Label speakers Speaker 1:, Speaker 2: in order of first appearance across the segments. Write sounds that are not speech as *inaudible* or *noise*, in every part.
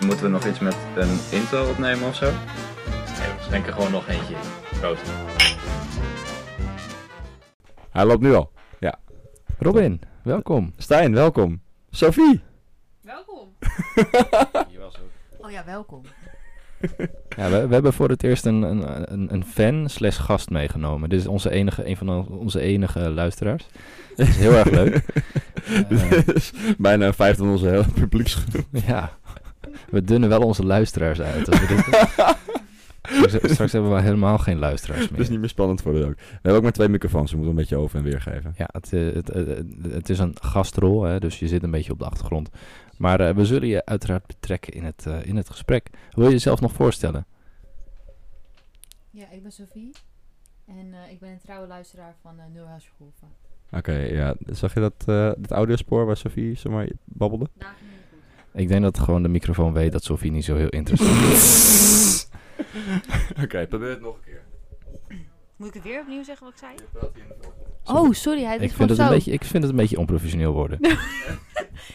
Speaker 1: Moeten we nog iets met een intro opnemen of zo?
Speaker 2: Nee, we schenken gewoon nog eentje in. Proost.
Speaker 3: Hij loopt nu al.
Speaker 4: Robin, welkom.
Speaker 3: Stijn, welkom. Sophie.
Speaker 5: *laughs* Welkom.
Speaker 2: Je was ook.
Speaker 5: Oh ja, welkom.
Speaker 4: Ja, we, we hebben voor het eerst een, een, een- een fan slash gast meegenomen. Dit is onze enige, een van on- onze enige luisteraars. Dat is heel
Speaker 3: *laughs*
Speaker 4: erg leuk. Eh,
Speaker 3: Dus Bijna een vijfde van onze hele publieks.
Speaker 4: ja, we dunnen wel onze luisteraars uit. als we dit-
Speaker 3: *laughs*
Speaker 4: straks, straks hebben we helemaal geen luisteraars
Speaker 3: Dat is
Speaker 4: meer.
Speaker 3: niet meer spannend voor de ook. We hebben ook maar twee microfoons. We moeten een beetje over en weer geven.
Speaker 4: Ja, het, eh, het, eh, het, het is een gastrol, hè, dus je zit een beetje op de achtergrond. Maar eh, we zullen je uiteraard betrekken in het, eh, in het gesprek. Wil je jezelf nog voorstellen?
Speaker 5: Ja, ik ben Sophie. En eh, ik ben een trouwe luisteraar van eh Nulhuisgroeven.
Speaker 3: Oké, ja. Zag je dat, eh dat audiospoor waar Sophie zomaar babbelde?
Speaker 5: Daar ging het goed.
Speaker 4: Ik denk dat gewoon de microfoon weet dat Sophie niet zo heel interessant is.
Speaker 3: *laughs* Oké, probeer het nog een keer.
Speaker 5: Moet ik het weer opnieuw zeggen wat ik zei? Oh, sorry. Hij
Speaker 4: Ik vind,
Speaker 5: is gewoon
Speaker 4: het
Speaker 5: zo.
Speaker 4: een beetje, ik vind het een beetje onprofessioneel
Speaker 5: *laughs*
Speaker 4: worden.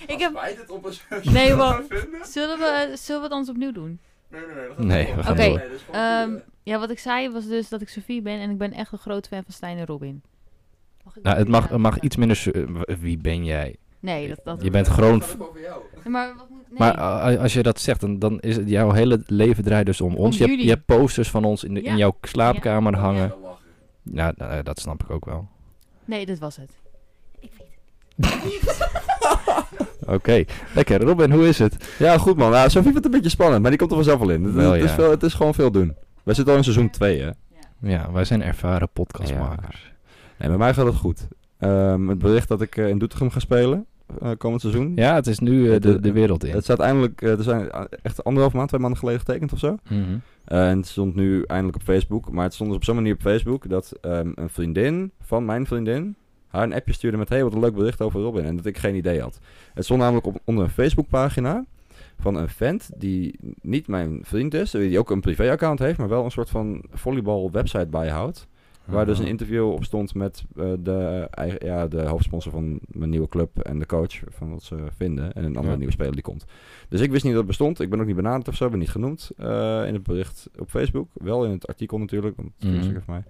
Speaker 5: Ik heb...
Speaker 3: Bijt het op een
Speaker 5: Nee, wacht. Zullen we, eh, zullen we het anders opnieuw doen?
Speaker 3: Nee, nee, nee.
Speaker 4: gaat Nee, niet. we gaan
Speaker 5: Oké, door. Ehm,
Speaker 3: eh.
Speaker 5: ja, wat ik zei was dus dat ik Sophie ben en ik ben echt een groot fan van Stijn en Robin. Mag ik
Speaker 4: Nou,
Speaker 5: dat
Speaker 4: het mag, het
Speaker 5: zeggen?
Speaker 4: mag iets minder... su- eh, w- Wie ben jij?
Speaker 5: Nee, dat... dat...
Speaker 4: Je bent gewoon... v-
Speaker 5: Maar wat moet... Nee.
Speaker 4: Maar eh, als je dat zegt, dan, dan is het, jouw hele leven draait dus om ons. Je hebt,
Speaker 5: jullie.
Speaker 4: je hebt posters van ons in, de,
Speaker 5: Ja.
Speaker 4: in jouw slaapkamer
Speaker 5: Ja.
Speaker 4: hangen. Ja, nou, eh, dat snap ik ook wel.
Speaker 5: Nee, dat was het. Ik weet
Speaker 4: *laughs*
Speaker 5: *laughs*
Speaker 4: Oké, lekker. Robin, hoe is het?
Speaker 3: Ja, goed man. Ja, Sophie vindt het een beetje spannend, maar die komt er vanzelf wel in. Het,
Speaker 4: Wel,
Speaker 3: het is,
Speaker 4: ja.
Speaker 3: veel, het is gewoon veel doen. We zitten al in seizoen 2, hè?
Speaker 4: Ja, wij zijn ervaren podcastmakers.
Speaker 3: Nee, bij mij gaat het goed. Ehm, het bericht dat ik eh, in Doetinchem ga spelen eh, komend seizoen.
Speaker 4: Ja, het is nu eh, de, de wereld in.
Speaker 3: Het staat eindelijk, eh, er zijn eh, echt anderhalf maand, twee maanden geleden getekend of zo.
Speaker 4: Mhm.
Speaker 3: Eh, en het stond nu eindelijk op Facebook. Maar het stond dus op zo'n manier op Facebook dat ehm, een vriendin van mijn vriendin haar een appje stuurde met hey, wat een leuk bericht over Robin. En dat ik geen idee had. Het stond namelijk op, onder een Facebookpagina van een vent die niet mijn vriend is. Die ook een privéaccount heeft, maar wel een soort van volleybal website bijhoudt. Waar dus een
Speaker 4: Mhm.
Speaker 3: interview op stond met eh, de, eigen- ja, de hoofdsponsor van mijn nieuwe club en de coach van wat ze vinden. En een andere
Speaker 4: Ja.
Speaker 3: nieuwe speler die komt. Dus ik wist niet dat het bestond. Ik ben ook niet benaderd of zo. Ben niet genoemd eh, in het bericht op Facebook. Wel in het artikel natuurlijk, want het
Speaker 4: Mhm.
Speaker 3: is zeker van mij.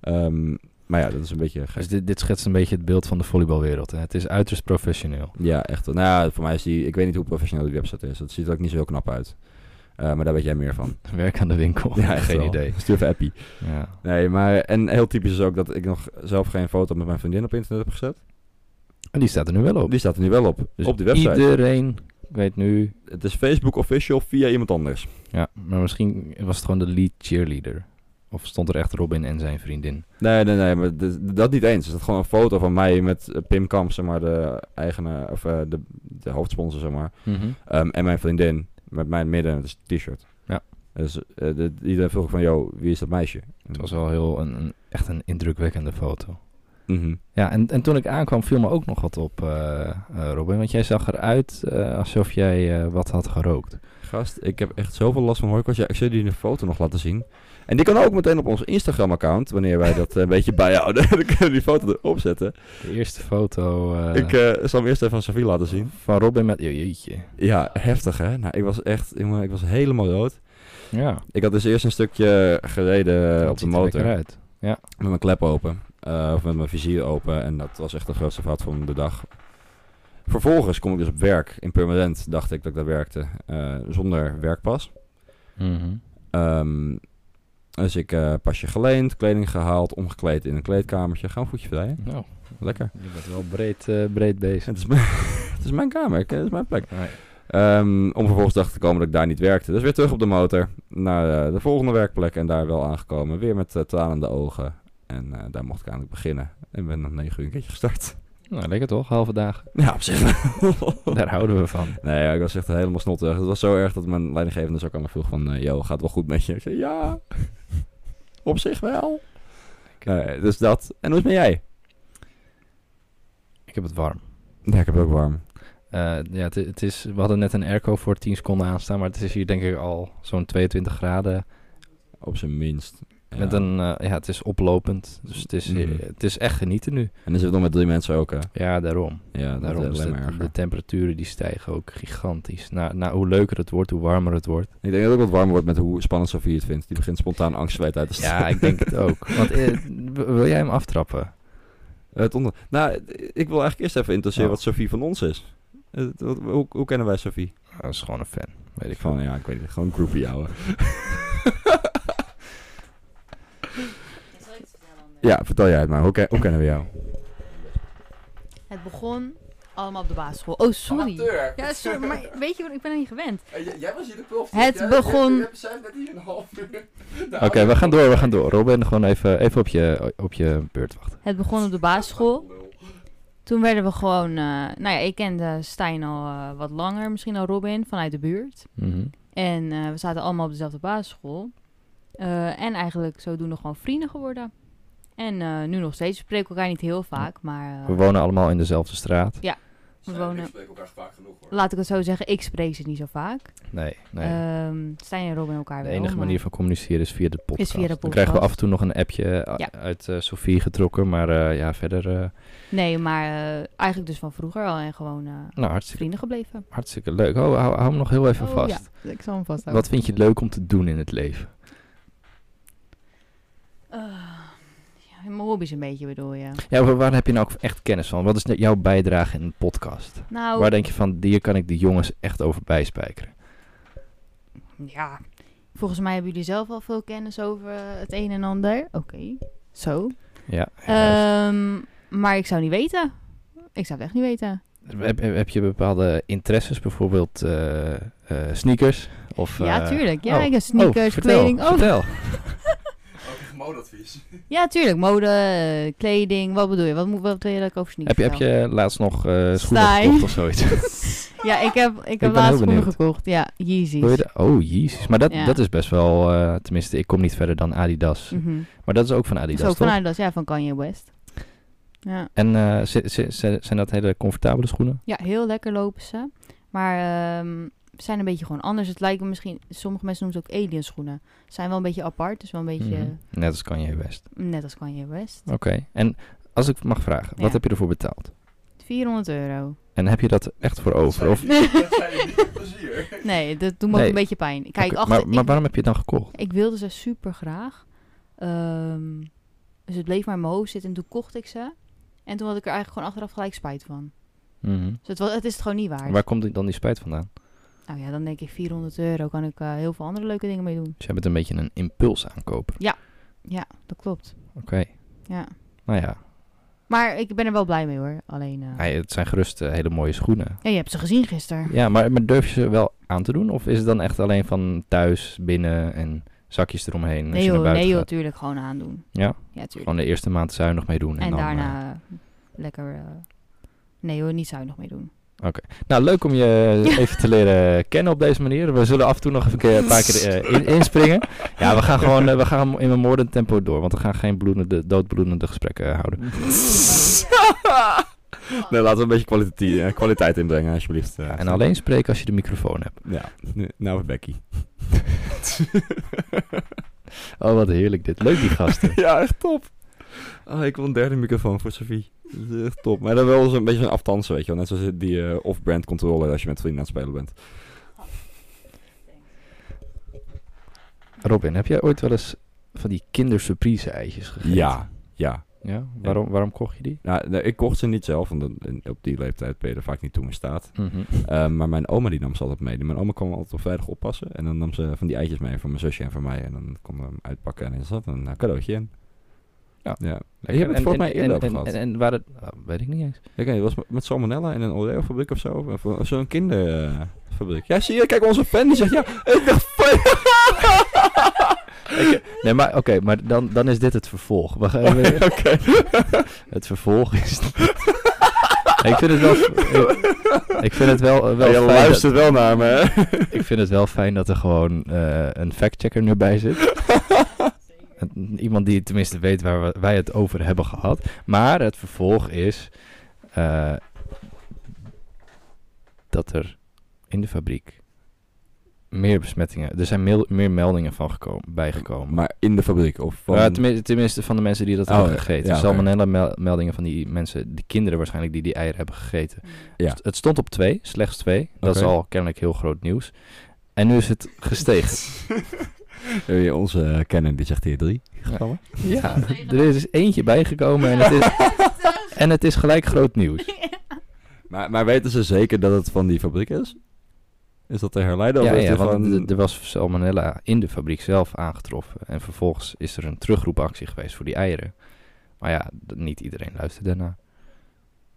Speaker 3: Ehm, maar ja, dat is een beetje gek.
Speaker 4: Dus dit, dit schetst een beetje het beeld van de volleybalwereld. Hè? Het is uiterst professioneel.
Speaker 3: Ja, echt. wel. Nou ja, voor mij is die... Ik weet niet hoe professioneel die website is. Dat ziet er ook niet zo heel knap uit. Eh, maar daar weet jij meer
Speaker 4: *laughs*
Speaker 3: van.
Speaker 4: Werk aan de winkel.
Speaker 3: Ja, echt
Speaker 4: Geen
Speaker 3: wel.
Speaker 4: idee.
Speaker 3: Stuur even appie.
Speaker 4: Ja.
Speaker 3: Nee, maar... En heel typisch is ook dat ik nog zelf geen foto met mijn vriendin op internet heb gezet.
Speaker 4: En die staat er nu wel op.
Speaker 3: Die staat er nu wel op.
Speaker 4: Dus
Speaker 3: op die website.
Speaker 4: Iedereen weet nu.
Speaker 3: Het is Facebook official via iemand anders.
Speaker 4: Ja, maar misschien was het gewoon de lead cheerleader. Of stond er echt Robin en zijn vriendin?
Speaker 3: Nee, nee, nee, maar dit- dat niet eens. Er staat gewoon een foto van mij met eh, Pim Kamp, zeg maar, de eigenaar, of eh, de, de hoofdsponsor, zeg maar. Ehm, en mijn vriendin, met mijn midden, dat is een t-shirt.
Speaker 4: Ja.
Speaker 3: Dus eh, de- iedereen vroeg van, yo, wie is dat meisje?
Speaker 4: Het was wel heel een, een- echt een indrukwekkende foto.
Speaker 3: Mhm.
Speaker 4: Ja, en, en toen ik aankwam viel me ook nog wat op, eh, eh, Robin. Want jij zag eruit eh, alsof jij eh, wat had gerookt.
Speaker 3: Gast, ik heb echt zoveel last van hooikoorts. Ja, ik zal jullie een foto nog laten zien. En die kan ook meteen op ons Instagram-account, wanneer wij dat eh, een beetje bijhouden. *laughs* Dan kunnen we die foto erop zetten.
Speaker 4: De eerste foto eh,
Speaker 3: Ik eh, zal hem eerst even aan Sofie laten zien.
Speaker 4: van Robin met... je- Jeetje.
Speaker 3: Ja, heftig hè. Nou, ik was echt, jongen, ik was helemaal rood.
Speaker 4: Ja,
Speaker 3: Ik had dus eerst een stukje gereden eh,
Speaker 4: dat
Speaker 3: op de
Speaker 4: ziet er
Speaker 3: motor.
Speaker 4: lekker
Speaker 3: Met
Speaker 4: uit.
Speaker 3: mijn klep open. Eh, of met mijn vizier open. En dat was echt de grootste fout van de dag. Vervolgens kom ik dus op werk. In permanent dacht ik dat ik daar werkte. eh, zonder werkpas.
Speaker 4: Mhm.
Speaker 3: Ehm, dus ik eh, pasje geleend, kleding gehaald, omgekleed in een kleedkamertje. Gaan voetje vrijen.
Speaker 4: Nou,
Speaker 3: Lekker. *laughs*
Speaker 4: je bent wel breed, eh, breed bezig.
Speaker 3: Het is, mijn, *laughs* het is mijn kamer, ik- eh, het is mijn plek.
Speaker 4: Nee.
Speaker 3: Ehm, om vervolgens achter te komen dat ik daar niet werkte. Dus weer terug op de motor naar eh, de volgende werkplek en daar wel aangekomen. Weer met eh, tranende ogen. En eh, daar mocht ik eindelijk beginnen. En ben om negen uur een keertje gestart. *laughs*
Speaker 4: Nou, lekker toch? Halve dag.
Speaker 3: Ja, op zich. wel.
Speaker 4: Daar houden we van.
Speaker 3: nee, ja, ik was echt helemaal snotterig. Het was zo erg dat mijn leidinggevende dus ook aan me vroeg van... eh, Yo, gaat het wel goed met je? Ik zei, ja, *laughs* op zich wel. Nee, dus dat. En hoe is het met jij?
Speaker 4: Ik heb het warm.
Speaker 3: Ja, ik heb het ook warm.
Speaker 4: Eh, ja, het, het is, we hadden net een airco voor 10 seconden aanstaan, maar het is hier denk ik al zo'n 22 graden.
Speaker 3: Op zijn minst.
Speaker 4: Met een, eh, ja, het is oplopend. Dus het is,
Speaker 3: Mhm.
Speaker 4: het is echt genieten nu.
Speaker 3: En dan zit het nog met drie mensen ook, hè?
Speaker 4: Ja, daarom.
Speaker 3: Ja, dat
Speaker 4: daarom
Speaker 3: is
Speaker 4: is
Speaker 3: alleen maar
Speaker 4: het-
Speaker 3: erger.
Speaker 4: de temperaturen die stijgen ook gigantisch. Na, na, hoe leuker het wordt, hoe warmer het wordt.
Speaker 3: Ik denk dat het ook wat warm wordt met hoe spannend Sofie het vindt. Die begint spontaan angstzweet uit te
Speaker 4: Ja, ik
Speaker 3: *laughs*
Speaker 4: denk het ook. Want eh, w- wil jij hem aftrappen?
Speaker 3: Het onder... Nou, ik wil eigenlijk eerst even interesseren
Speaker 4: Oh.
Speaker 3: wat Sofie van ons is. Eh, Het- wat- hoe, hoe kennen wij Sofie?
Speaker 4: Ah, Dat is gewoon een fan. Weet ik van.
Speaker 3: Van, ja, ik weet niet, gewoon groupie ouwe.
Speaker 5: *laughs*
Speaker 3: Ja, vertel jij het maar. Hoe, ken- hoe kennen we jou?
Speaker 5: Het begon allemaal op de basisschool. Oh, sorry. Ja, sorry,
Speaker 2: *laughs*
Speaker 5: maar weet je wat, ik ben er niet gewend.
Speaker 2: Jij was hier de prof.
Speaker 5: Het Jij- begon- jij-
Speaker 2: net hier een half uur. *laughs* Nou,
Speaker 4: Oké, we gaan door, we gaan door. Robin, gewoon even, even op, je, op je beurt wachten.
Speaker 5: Het begon op de basisschool. Toen werden we gewoon... eh, nou ja, ik kende Stijn al eh, wat langer. Misschien al Robin, vanuit de buurt.
Speaker 4: Mhm.
Speaker 5: En eh, we zaten allemaal op dezelfde basisschool. Eh, en eigenlijk zodoende gewoon vrienden geworden. En eh, nu nog steeds. We spreken elkaar niet heel vaak, maar... eh,
Speaker 4: We wonen allemaal in dezelfde straat.
Speaker 5: we wonen...
Speaker 2: spreken elkaar vaak genoeg hoor.
Speaker 5: Laat ik het zo zeggen, ik spreek ze niet zo vaak.
Speaker 4: Nee, nee.
Speaker 5: Ehm, Stijn en Robin elkaar
Speaker 4: de
Speaker 5: wel.
Speaker 4: enige
Speaker 5: maar-
Speaker 4: manier van communiceren is via de podcast.
Speaker 5: via de
Speaker 4: Dan krijgen we
Speaker 5: podcast.
Speaker 4: af en toe nog een appje eh,
Speaker 5: Ja.
Speaker 4: uit eh, Sofie getrokken, maar eh, ja, verder eh,
Speaker 5: Nee, maar eh, eigenlijk dus van vroeger al en gewoon eh,
Speaker 4: nou, hartstikke,
Speaker 5: vrienden gebleven.
Speaker 4: hartstikke leuk. Oh, hou, hou hem nog heel even
Speaker 5: Oh,
Speaker 4: vast.
Speaker 5: ja, ik zal hem vast
Speaker 4: Wat vind je leuk om te doen in het leven?
Speaker 5: Eh, ja, mijn hobby's een beetje bedoel je.
Speaker 4: Ja, wa- waar heb je nou ook echt kennis van? Wat is nou jouw bijdrage in een podcast?
Speaker 5: Nou,
Speaker 4: Waar denk je van, hier kan ik de jongens echt over bijspijkeren?
Speaker 5: ja. Volgens mij hebben jullie zelf al veel kennis over eh, het een en ander. Oké, zo.
Speaker 4: Ja,
Speaker 5: Eh.
Speaker 4: juist.
Speaker 5: Ehm, maar ik zou niet weten. Ik zou het echt niet weten.
Speaker 4: heb, heb- heb je bepaalde interesses, bijvoorbeeld eh, eh, sneakers? Of,
Speaker 5: ja,
Speaker 4: eh,
Speaker 5: tuurlijk. Ja,
Speaker 4: oh.
Speaker 5: ik heb sneakers,
Speaker 4: oh, vertel,
Speaker 5: kleding. Oh,
Speaker 4: Vertel.
Speaker 2: Ook een modeadvies.
Speaker 5: ja, tuurlijk. Mode, eh, kleding. Wat bedoel je? Wat, moet, wat wil je dat ik over sneakers
Speaker 4: Heb je, heb
Speaker 5: vertel?
Speaker 4: je laatst nog eh schoenen
Speaker 5: Stijn.
Speaker 4: gekocht of
Speaker 5: *laughs*
Speaker 4: zoiets?
Speaker 5: Ja, ik heb, ik heb
Speaker 4: ben heel
Speaker 5: laatst schoenen
Speaker 4: benieuwd.
Speaker 5: gekocht. Ja, Yeezys.
Speaker 4: Wil je de- oh, jezus. Maar dat,
Speaker 5: Ja.
Speaker 4: dat is best wel... eh, tenminste, ik kom niet verder dan Adidas.
Speaker 5: Mhm.
Speaker 4: Maar dat is ook van
Speaker 5: Dat
Speaker 4: Adidas,
Speaker 5: is ook
Speaker 4: toch?
Speaker 5: van Adidas, ja, van Kanye West. Ja,
Speaker 4: En eh, zi- zi- zi- zijn dat hele comfortabele schoenen?
Speaker 5: ja heel lekker lopen ze. Maar ehm, ze zijn een beetje gewoon anders. Het lijken misschien, sommige mensen noemen ze ook alien schoenen. Ze zijn wel een beetje apart, dus wel een beetje
Speaker 4: Mhm. Net als Kanye West.
Speaker 5: net als Kanye West.
Speaker 4: Oké. En als ik mag vragen,
Speaker 5: Ja.
Speaker 4: wat heb je ervoor betaald?
Speaker 5: 400 euro.
Speaker 4: En heb je dat echt voor over? Of,
Speaker 5: *laughs*
Speaker 2: Dat zijn jullie niet plezier.
Speaker 5: Nee, dat doet me ook
Speaker 4: Nee.
Speaker 5: een beetje pijn. Kijk,
Speaker 4: Oké,
Speaker 5: achter,
Speaker 4: maar, maar
Speaker 5: ik-
Speaker 4: waarom heb je het dan gekocht?
Speaker 5: Ik wilde ze super graag. Ehm, dus het bleef maar in mijn hoofd zitten en toen kocht ik ze. En toen had ik er eigenlijk gewoon achteraf gelijk spijt van.
Speaker 4: Mhm.
Speaker 5: Dus het, wa- het is het gewoon niet waard.
Speaker 4: Waar komt dan die spijt vandaan?
Speaker 5: Nou ja, dan denk ik 400 euro kan ik eh, heel veel andere leuke dingen mee doen.
Speaker 4: Dus jij bent een beetje een impulsaankoper.
Speaker 5: Ja, dat klopt.
Speaker 4: Oké.
Speaker 5: Ja.
Speaker 4: Nou ja,
Speaker 5: Maar ik ben er wel blij mee hoor. Alleen. eh,
Speaker 4: hij- het zijn gerust eh, hele mooie schoenen.
Speaker 5: ja, je hebt ze gezien gisteren.
Speaker 4: Ja, maar, maar durf je ze wel aan te doen? Of is het dan echt alleen van thuis, binnen en zakjes eromheen? als
Speaker 5: Nee
Speaker 4: je naar
Speaker 5: joh,
Speaker 4: buiten
Speaker 5: nee joh,
Speaker 4: gaat?
Speaker 5: tuurlijk gewoon aandoen.
Speaker 4: Ja?
Speaker 5: Ja, tuurlijk.
Speaker 4: Gewoon de eerste maand zuinig mee doen. En,
Speaker 5: En
Speaker 4: dan, eh,
Speaker 5: daarna eh, lekker. eh, nee hoor, niet zuinig mee doen.
Speaker 4: Nou, leuk om
Speaker 5: *laughs*
Speaker 4: je
Speaker 5: Ja.
Speaker 4: even te leren kennen op deze manier. We zullen af en toe nog even een keer- een paar keer eh, in- inspringen. Ja, we gaan gewoon eh, we gaan in een moordend tempo door. Want we gaan geen bloedende, doodbloedende gesprekken eh, houden.
Speaker 5: *laughs*
Speaker 3: *laughs* Nee, laten we een beetje kwaliteit, eh, kwaliteit inbrengen, alsjeblieft. eh.
Speaker 4: En alleen spreken als je de microfoon hebt.
Speaker 3: Ja, nu- nou voor
Speaker 4: *laughs*
Speaker 3: Becky.
Speaker 4: Oh, wat heerlijk dit. Leuk die gasten.
Speaker 3: ja, echt top. Oh, ik wil een derde microfoon voor Sophie. Dat is echt top. Maar dan wel eens een beetje een aftansen, weet je wel. Net zoals die eh, off-brand controller als je met vrienden aan het spelen bent.
Speaker 4: *laughs* Robin, heb jij ooit wel eens van die kindersurprise eitjes gegeten?
Speaker 3: Ja, ja.
Speaker 4: ja? Waarom, waarom kocht je die?
Speaker 3: Nou, nee, ik kocht ze niet zelf, want dan- op die leeftijd ben je er vaak niet toe in staat.
Speaker 4: Mhm.
Speaker 3: Eh, maar mijn oma die nam ze altijd mee. Mijn oma kwam altijd op vrijdag oppassen. En dan nam ze van die eitjes mee voor mijn zusje en voor mij. En dan konden we hem uitpakken. En er zat een eh, cadeautje in.
Speaker 4: Ja.
Speaker 3: ja. Je hebt het
Speaker 4: En-
Speaker 3: volgens
Speaker 4: en-
Speaker 3: mij eerder
Speaker 4: en-
Speaker 3: over
Speaker 4: en-
Speaker 3: gehad.
Speaker 4: En, en waar het... ah, weet ik niet eens.
Speaker 3: Ik weet niet, het was met- met salmonella in een Oreo-fabriek of zo. Of, of zo'n kinderfabriek. Ja, zie je? Kijk, onze fan die zegt ja. Ik dacht fan.
Speaker 4: Nee, maar oké, maar dan, dan is dit het vervolg. We gaan, we-
Speaker 3: *laughs*
Speaker 4: *laughs* het vervolg is. *laughs* ik vind het wel. Ik vind het wel, wel
Speaker 3: je
Speaker 4: fijn.
Speaker 3: luistert wel naar me, hè?
Speaker 4: Dat, ik vind het wel fijn dat er gewoon eh, een factchecker nu
Speaker 3: *laughs*
Speaker 4: bij zit. Een- Iemand die tenminste weet waar we- wij het over hebben gehad. Maar het vervolg is eh, dat er in de fabriek meer besmettingen. Er zijn meel- meer meldingen van geko- bijgekomen.
Speaker 3: Oh, Maar in de fabriek of van... *laughs*
Speaker 4: Ja, tenminste, tenminste van de mensen die dat
Speaker 3: Oh,
Speaker 4: hebben
Speaker 3: ja.
Speaker 4: gegeten.
Speaker 3: Ja, oké.
Speaker 4: Salmonella-meldingen van die mensen, die kinderen waarschijnlijk, die die eieren hebben gegeten.
Speaker 3: Ja.
Speaker 4: Het- Het stond op twee, slechts twee. Dat is
Speaker 3: Oké.
Speaker 4: al kennelijk heel groot nieuws. En nu is het
Speaker 3: *laughs*
Speaker 4: gestegen.
Speaker 3: Eh, Onze eh, kenner die zegt hier drie.
Speaker 4: Gekomen? Ja, er is eentje bijgekomen en oh, het is,
Speaker 5: *laughs*
Speaker 4: en het is gelijk groot nieuws.
Speaker 3: *laughs* Maar, maar weten ze zeker dat het van die fabriek is? Is dat te herleiden? Of
Speaker 4: Ja,
Speaker 3: is
Speaker 4: ja
Speaker 3: het
Speaker 4: want
Speaker 3: gewoon...
Speaker 4: d- er was salmonella in de fabriek zelf aangetroffen. En vervolgens is er een terugroepactie geweest voor die eieren. Maar ja, d- niet iedereen luistert daarna.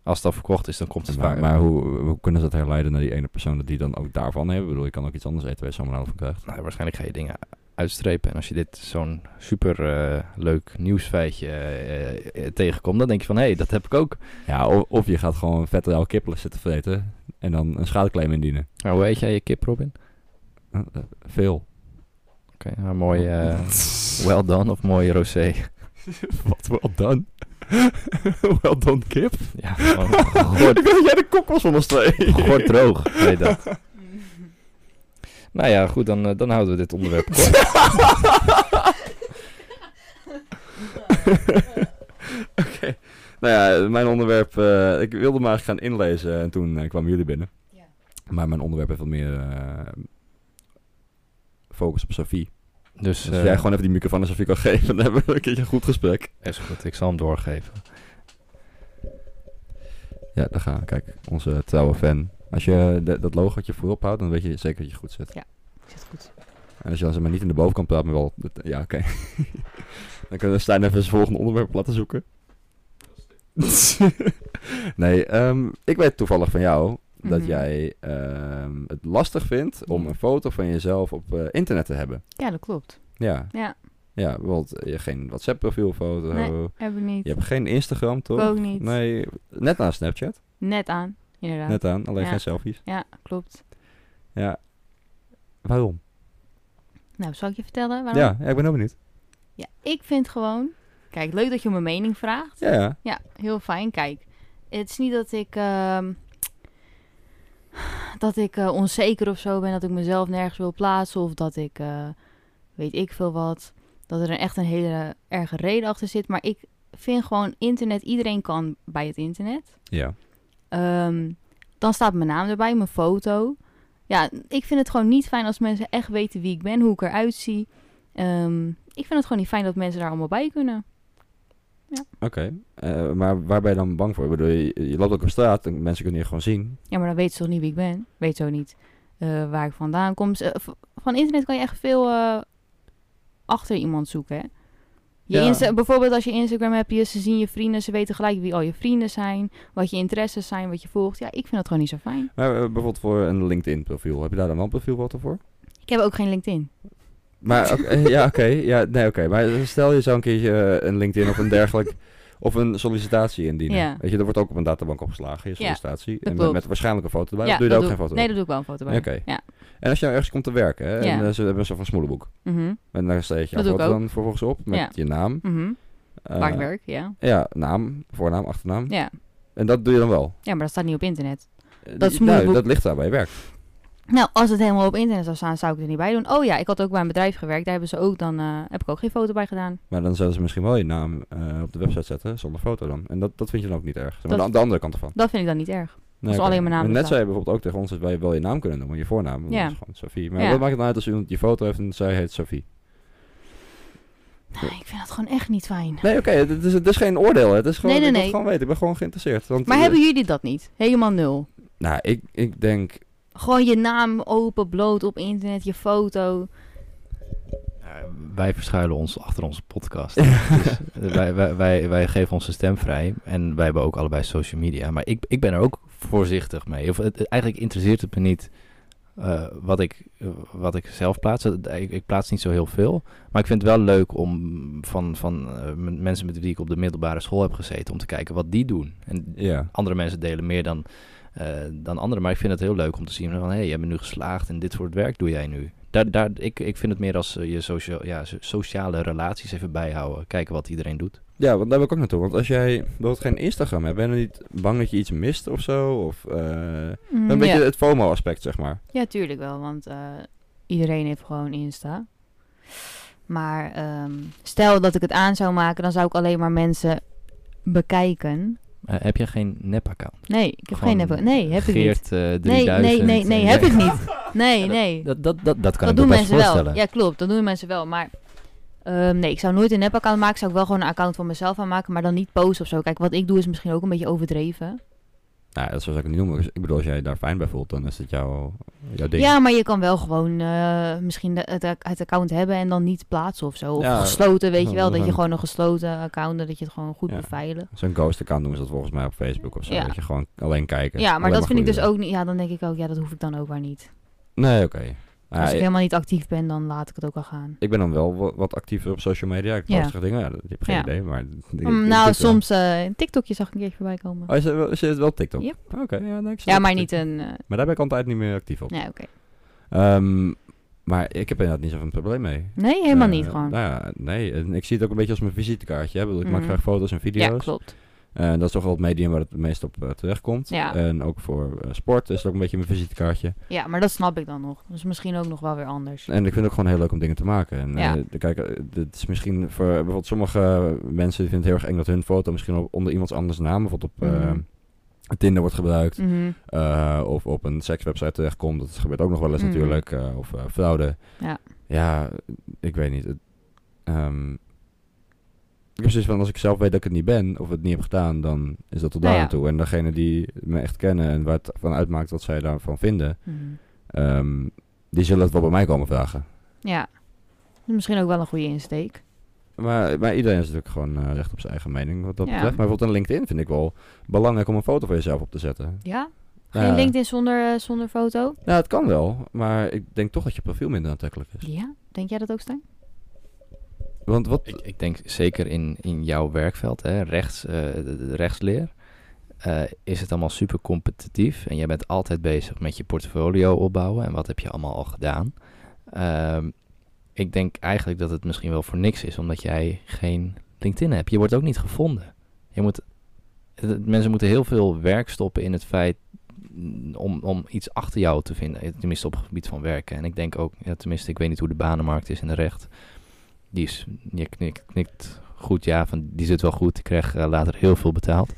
Speaker 4: Als het al verkocht is, dan komt het
Speaker 3: Maar,
Speaker 4: vaak.
Speaker 3: maar hoe, hoe kunnen ze dat herleiden naar die ene persoon dat die dan ook daarvan hebben? Ik bedoel, je kan ook iets anders eten waar je salmonella van krijgt.
Speaker 4: Nou, waarschijnlijk ga je dingen uitstrepen. En als je dit zo'n super eh, leuk nieuwsfeitje eh, eh, tegenkomt, dan denk je van... hé, hey, dat heb ik ook.
Speaker 3: Ja, of, of je gaat gewoon vette oude kippelen zitten vreten en dan een schadeclaim indienen.
Speaker 4: Nou, hoe eet jij je kip, Robin?
Speaker 3: Eh, eh, veel.
Speaker 4: Oké, nou,
Speaker 3: *laughs*
Speaker 4: mooi eh well done of mooi rosé. *laughs*
Speaker 3: Wat wel dan? *laughs* wel dan kip?
Speaker 4: Ja, gewoon
Speaker 3: *laughs*
Speaker 4: gort,
Speaker 3: Ik dacht dat jij de kok was van ons twee.
Speaker 4: gort droog. Weet dat. Nou ja, goed, dan, eh, dan houden we dit *laughs* onderwerp kort.
Speaker 3: Nou ja, mijn onderwerp... eh, ik wilde maar gaan inlezen en toen eh, kwamen jullie binnen.
Speaker 5: Ja.
Speaker 3: Maar mijn onderwerp heeft wat meer eh, focus op Sophie.
Speaker 4: Dus
Speaker 3: Dus als
Speaker 4: eh,
Speaker 3: jij gewoon even die microfoon aan Sophie kan *laughs* geven, dan hebben we een keertje een goed gesprek.
Speaker 4: is goed, ik zal hem doorgeven.
Speaker 3: Ja, daar gaan we. Kijk, onze trouwe fan. Als je eh, de- dat logootje voorop houdt, dan weet je zeker dat je goed zit.
Speaker 5: Zit goed.
Speaker 3: En als je dan zeg maar niet in de bovenkant praat, maar wel... het- Ja, oké. *laughs* dan kunnen we Stijn even zijn volgende onderwerp op laten zoeken. *laughs* nee, ehm, ik weet toevallig van jou dat
Speaker 5: Mhm.
Speaker 3: jij ehm, het lastig vindt om een foto van jezelf op eh, internet te hebben.
Speaker 5: Ja, dat klopt.
Speaker 3: Ja.
Speaker 5: Ja.
Speaker 3: Ja, want je hebt geen WhatsApp profielfoto.
Speaker 5: Nee. Heb ik niet.
Speaker 3: Je hebt geen Instagram, toch?
Speaker 5: Ik ook niet.
Speaker 3: Nee, net na Snapchat.
Speaker 5: Net aan, inderdaad.
Speaker 3: Net aan, alleen
Speaker 5: Ja.
Speaker 3: geen selfies.
Speaker 5: Ja, klopt.
Speaker 3: Ja. Waarom?
Speaker 5: Nou, zal ik je vertellen waarom?
Speaker 3: Ja, ja, ik ben heel benieuwd.
Speaker 5: Ja, ik vind gewoon... Kijk, leuk dat je om mijn mening vraagt.
Speaker 3: Ja, ja.
Speaker 5: Ja, heel fijn. Kijk, het is niet dat ik... ehm, dat ik eh, onzeker of zo ben, dat ik mezelf nergens wil plaatsen... of dat ik, eh, weet ik veel wat... dat er een echt een hele erge reden achter zit. Maar ik vind gewoon internet... Iedereen kan bij het internet.
Speaker 3: Ja.
Speaker 5: Ehm, dan staat mijn naam erbij, mijn foto. Ja, ik vind het gewoon niet fijn als mensen echt weten wie ik ben, hoe ik eruit zie. Ehm, ik vind het gewoon niet fijn dat mensen daar allemaal bij kunnen.
Speaker 3: Oké. Eh, maar waar ben je dan bang voor? Ik bedoel, je, je loopt ook op straat en mensen kunnen je gewoon zien.
Speaker 5: Ja, maar dan weten ze toch niet wie ik ben? Weet zo niet eh, waar ik vandaan kom. Ze- eh, v- van internet kan je echt veel eh, achter iemand zoeken, hè? Je
Speaker 3: Ja.
Speaker 5: Insta- bijvoorbeeld als je Instagram hebt, je, ze zien je vrienden, ze weten gelijk wie al je vrienden zijn, wat je interesses zijn, wat je volgt. Ja, ik vind dat gewoon niet zo fijn.
Speaker 3: Maar eh, bijvoorbeeld voor een LinkedIn profiel. Heb je daar dan wel een profielfoto voor?
Speaker 5: Ik heb ook geen LinkedIn.
Speaker 3: Maar
Speaker 5: *laughs*
Speaker 3: oké, eh, ja, oké. ja, nee, oké. Maar stel je zou een keertje eh, een LinkedIn of een
Speaker 5: *laughs*
Speaker 3: dergelijk... Of een sollicitatie indienen.
Speaker 5: Ja.
Speaker 3: Weet je, dat wordt ook op een databank opgeslagen, je
Speaker 5: Ja,
Speaker 3: sollicitatie. en met,
Speaker 5: klopt.
Speaker 3: met waarschijnlijk een foto erbij.
Speaker 5: ja,
Speaker 3: Of doe je daar ook geen
Speaker 5: ik-
Speaker 3: foto bij?
Speaker 5: Nee, dat doe ik wel een foto bij.
Speaker 3: Oké.
Speaker 5: Ja.
Speaker 3: En als je nou ergens komt te werken, hè, en
Speaker 5: Ja.
Speaker 3: eh, ze hebben een soort van smoelenboek.
Speaker 5: Mhm.
Speaker 3: En daar steek je
Speaker 5: Dat
Speaker 3: je
Speaker 5: doe ik
Speaker 3: foto dan vervolgens op met
Speaker 5: Ja.
Speaker 3: je naam.
Speaker 5: mhm.
Speaker 3: eh,
Speaker 5: Waar ik werk, ja.
Speaker 3: Ja, naam, voornaam, achternaam.
Speaker 5: ja.
Speaker 3: En dat doe je dan wel.
Speaker 5: Ja, maar dat staat niet op internet.
Speaker 3: Eh,
Speaker 5: Dat
Speaker 3: die-
Speaker 5: smoelenboek-
Speaker 3: nou, dat ligt daar bij je werk.
Speaker 5: Nou, als het helemaal op internet zou staan, zou ik er niet bij doen. Oh ja, ik had ook bij een bedrijf gewerkt. Daar hebben ze ook dan, eh, heb ik ook geen foto bij gedaan.
Speaker 3: Maar dan zouden ze misschien wel je naam eh, op de website zetten, zonder foto dan. En dat, dat vind je dan ook niet erg. Zeg Maar
Speaker 5: Dat-
Speaker 3: de, de andere kant ervan.
Speaker 5: Dat vind ik dan niet erg.
Speaker 3: Nee,
Speaker 5: Als
Speaker 3: oké.
Speaker 5: alleen mijn naam
Speaker 3: Maar Net
Speaker 5: erop
Speaker 3: zei je bijvoorbeeld ook tegen ons dat wij wel je naam kunnen noemen, je voornaam. want
Speaker 5: Ja.
Speaker 3: Dat is gewoon Sophie. Maar
Speaker 5: Ja.
Speaker 3: wat maakt het nou uit als iemand je foto heeft en zij heet Sophie?
Speaker 5: Nou, ik vind dat gewoon echt niet fijn.
Speaker 3: Nee, oké, het, is, het is geen oordeel. hè. Het is gewoon,
Speaker 5: Nee, nee,
Speaker 3: ik wil het
Speaker 5: nee.
Speaker 3: gewoon weten. Ik ben gewoon geïnteresseerd. Want,
Speaker 5: Maar
Speaker 3: eh,
Speaker 5: hebben jullie dat niet? Helemaal nul.
Speaker 3: Nou, ik, ik denk
Speaker 5: *laughs* Gewoon je naam open, bloot op internet, je foto.
Speaker 4: wij verschuilen ons achter onze podcast. *laughs* Dus wij, wij, wij, wij geven onze stem vrij. En wij hebben ook allebei social media. Maar ik, ik ben er ook voorzichtig mee. Of, het, het- eigenlijk interesseert het me niet eh, wat, ik, eh, wat ik zelf plaats. Het- Ik, ik plaats niet zo heel veel. Maar ik vind het wel leuk om van, van eh, m- mensen met wie ik op de middelbare school heb gezeten... om te kijken wat die doen. En
Speaker 3: Ja.
Speaker 4: andere mensen delen meer dan, eh, dan anderen. Maar ik vind het heel leuk om te zien van... hé, hey, jij bent nu geslaagd en dit soort werk doe jij nu. Daar, daar, ik, ik vind het meer als eh, je socia ja, so- sociale relaties even bijhouden. Kijken wat iedereen doet.
Speaker 3: ja, want daar wil ik ook naartoe. Want als jij bijvoorbeeld geen Instagram hebt, ben je dan niet bang dat je iets mist of zo? Of eh,
Speaker 5: Mm,
Speaker 3: een beetje
Speaker 5: ja.
Speaker 3: het FOMO-aspect, zeg maar.
Speaker 5: ja, tuurlijk wel. Want eh, iedereen heeft gewoon Insta. Maar ehm, stel dat ik het aan zou maken, dan zou ik alleen maar mensen bekijken.
Speaker 4: Eh, heb jij geen nep-account?
Speaker 5: Nee, ik heb
Speaker 4: Gewoon
Speaker 5: geen nep. Nee, heb ik niet.
Speaker 4: Geert, eh,
Speaker 5: Nee,
Speaker 4: 3000.
Speaker 5: nee, nee, nee,
Speaker 4: en-
Speaker 5: heb ik
Speaker 4: *laughs*
Speaker 5: niet. Nee,
Speaker 4: Ja,
Speaker 5: nee.
Speaker 4: Dat, dat, dat, dat kan
Speaker 5: dat
Speaker 4: ik
Speaker 5: doen
Speaker 4: me best
Speaker 5: mensen wel.
Speaker 4: voorstellen.
Speaker 5: Ja, klopt. Dat doen mensen wel. Maar ehm, nee, ik zou nooit een nep-account maken. Zou ik wel gewoon een account van mezelf aanmaken, maar dan niet posten of zo. Kijk, wat ik doe is misschien ook een beetje overdreven.
Speaker 3: Nou, dat zou ik niet noemen. Dus Ik bedoel, als jij daar fijn bij voelt, dan is het jouw, jouw ding.
Speaker 5: Ja, maar je kan wel gewoon eh, misschien de, het, ac- het account hebben en dan niet plaatsen of zo. Of
Speaker 3: Ja,
Speaker 5: gesloten, weet je
Speaker 3: ja,
Speaker 5: wel. Dat
Speaker 3: *laughs*
Speaker 5: je
Speaker 3: dan-
Speaker 5: gewoon een gesloten account, dat je het gewoon goed
Speaker 3: Ja.
Speaker 5: beveiligt.
Speaker 3: Zo'n ghost-account noemen ze dat volgens mij op Facebook of zo.
Speaker 5: Ja.
Speaker 3: Dat je gewoon alleen kijken.
Speaker 5: Ja, maar
Speaker 3: Alleen
Speaker 5: dat vind ik
Speaker 3: goede
Speaker 5: dus ook niet. Ja, dan denk ik ook, ja, dat hoef ik dan ook maar niet.
Speaker 3: dingen. Nee, oké. Nou,
Speaker 5: Als ik
Speaker 3: ik,
Speaker 5: helemaal niet actief ben, dan laat ik het ook al gaan.
Speaker 3: ik ben dan wel wa- wat actiever op social media. Ik
Speaker 5: Ja.
Speaker 3: post ja. dingen. Ja, dat- ik heb geen
Speaker 5: Ja.
Speaker 3: idee, maar... ik- ik
Speaker 5: Mm,
Speaker 3: doe
Speaker 5: nou,
Speaker 3: het wel.
Speaker 5: soms eh TikTokje zag ik een keertje voorbij komen.
Speaker 3: Oh, is het, wel- is het wel op TikTok? Oh,
Speaker 5: Yep.
Speaker 3: Oké, ja, nee, ik zit
Speaker 5: ja,
Speaker 3: op
Speaker 5: maar
Speaker 3: TikTok.
Speaker 5: niet een... eh,
Speaker 3: Maar daar ben ik altijd niet meer actief op.
Speaker 5: nee, oké.
Speaker 3: Ehm, maar ik heb inderdaad niet zoveel probleem mee.
Speaker 5: Nee, helemaal
Speaker 3: Eh,
Speaker 5: niet gewoon.
Speaker 3: Nou ja, nee. En ik zie het ook een beetje als mijn visitekaartje. Hè? Ik bedoel, ik maak
Speaker 5: Mhm.
Speaker 3: graag foto's en video's.
Speaker 5: Ja, klopt.
Speaker 3: Eh, dat is toch wel het medium waar het het meest op eh, terechtkomt.
Speaker 5: Ja.
Speaker 3: En ook voor eh, sport is het ook een beetje mijn visitekaartje.
Speaker 5: Ja, maar dat snap ik dan nog. Dat is misschien ook nog wel weer anders.
Speaker 3: En ik vind het ook gewoon heel leuk om dingen te maken. En
Speaker 5: Ja.
Speaker 3: eh, kijk, eh, dit is misschien voor bijvoorbeeld sommige mensen die vinden het heel erg eng dat hun foto misschien op, onder iemands anders naam, bijvoorbeeld op eh,
Speaker 5: Mhm.
Speaker 3: Tinder wordt gebruikt.
Speaker 5: Mhm,
Speaker 3: eh, of op een sekswebsite terechtkomt. Dat gebeurt ook nog wel eens
Speaker 5: Mhm.
Speaker 3: natuurlijk. eh, of eh, fraude.
Speaker 5: Ja.
Speaker 3: Ja, ik weet niet. Het, ehm, ik heb zoiets van, als ik zelf weet dat ik het niet ben, of het niet heb gedaan, dan is dat tot
Speaker 5: Nou
Speaker 3: daar
Speaker 5: ja.
Speaker 3: aan toe. En degene die me echt kennen en waar het van uitmaakt wat zij daarvan vinden,
Speaker 5: mhm.
Speaker 3: ehm, die zullen het wel bij mij komen vragen.
Speaker 5: Ja. Dat is Misschien ook wel een goede insteek.
Speaker 3: Maar, maar iedereen is natuurlijk gewoon eh, recht op zijn eigen mening wat dat
Speaker 5: Ja.
Speaker 3: betreft. Maar bijvoorbeeld een LinkedIn vind ik wel belangrijk om een foto van jezelf op te zetten.
Speaker 5: Ja? Geen
Speaker 3: Nou ja.
Speaker 5: LinkedIn zonder, eh, zonder foto?
Speaker 3: Nou, het kan wel, maar ik denk toch dat je profiel minder aantrekkelijk is.
Speaker 5: Ja? Denk jij dat ook, Stijn?
Speaker 3: Want wat,
Speaker 4: Ik, ik denk zeker in, in jouw werkveld, hè, rechts, eh, de, de rechtsleer, eh, is het allemaal super competitief. En jij bent altijd bezig met je portfolio opbouwen en wat heb je allemaal al gedaan. Ehm, ik denk eigenlijk dat het misschien wel voor niks is, omdat jij geen LinkedIn hebt. Je wordt ook niet gevonden. Je moet, het- het- mensen moeten heel veel werk stoppen in het feit mm, om, om iets achter jou te vinden. Eh, Tenminste op het gebied van werken. En ik denk ook, ja, tenminste, ik weet niet hoe de banenmarkt is in de recht. Die is, je knikt, knikt goed, ja, van die zit wel goed. Ik krijg eh, later heel veel betaald.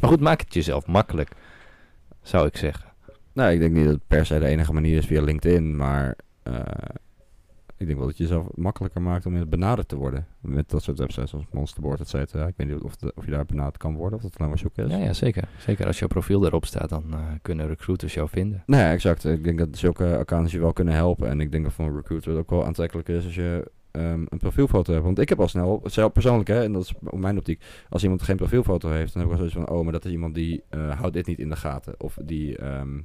Speaker 4: Maar goed, maak het jezelf makkelijk, zou ik zeggen.
Speaker 3: Nou, ik denk niet dat het per se de enige manier is via LinkedIn, maar eh, ik denk wel dat je jezelf makkelijker maakt om benaderd te worden. Met dat soort websites als Monsterboard, et cetera. Ik weet niet of, de- of je daar benaderd kan worden, of dat alleen maar zoeken is.
Speaker 4: Ja, ja zeker. Zeker als jouw profiel daarop staat, dan eh, kunnen recruiters jou vinden.
Speaker 3: Nee, exact. Ik denk dat zulke accounts je wel kunnen helpen. En ik denk dat voor een recruiter het ook wel aantrekkelijk is als je ehm, een profielfoto hebt. Want ik heb al snel, zelf persoonlijk hè, en dat is op mijn optiek, als iemand geen profielfoto heeft, dan heb ik al zoiets van, oh, maar dat is iemand die eh, houdt dit niet in de gaten. Of die, ehm,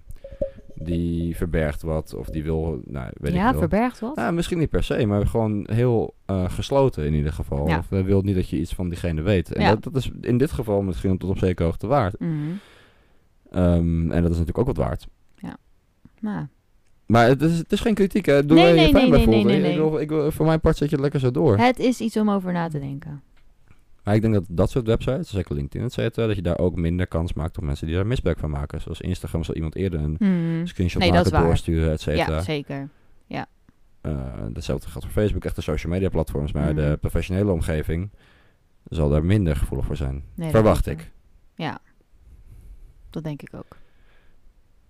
Speaker 3: die verbergt wat, of die wil, nou, weet ik
Speaker 5: ja,
Speaker 3: veel.
Speaker 5: verbergt wat.
Speaker 3: Nou, misschien niet per se, maar gewoon heel eh, gesloten in ieder geval.
Speaker 5: Ja.
Speaker 3: Of eh, wil niet dat je iets van diegene weet. En
Speaker 5: Ja.
Speaker 3: dat, dat is in dit geval misschien tot op zekere hoogte waard.
Speaker 5: Mhm.
Speaker 3: Ehm, en dat is natuurlijk ook wat waard.
Speaker 5: Nou,
Speaker 3: Maar het is, het is geen kritiek, hè. Doe
Speaker 5: Nee,
Speaker 3: waar je
Speaker 5: nee,
Speaker 3: je fijn
Speaker 5: nee,
Speaker 3: bij
Speaker 5: nee,
Speaker 3: voelt.
Speaker 5: nee, nee,
Speaker 3: Ik,
Speaker 5: nee.
Speaker 3: wil, ik wil- voor mijn part zet je het lekker zo door.
Speaker 5: het is iets om over na te denken.
Speaker 3: Maar ik denk dat dat soort websites, zeker LinkedIn, et cetera, dat je daar ook minder kans maakt op mensen die daar misbruik van maken. Zoals Instagram zal iemand eerder een
Speaker 5: Mhm.
Speaker 3: screenshot
Speaker 5: Nee, dat
Speaker 3: maken,
Speaker 5: is waar.
Speaker 3: doorsturen, et cetera.
Speaker 5: Ja, zeker.
Speaker 3: Eh, datzelfde geldt voor Facebook, echte social media platforms. Maar
Speaker 5: Mhm.
Speaker 3: de professionele omgeving zal daar minder gevoelig voor zijn.
Speaker 5: Nee, dat
Speaker 3: Verwacht
Speaker 5: denk
Speaker 3: ik.
Speaker 5: Dat denk ik ook.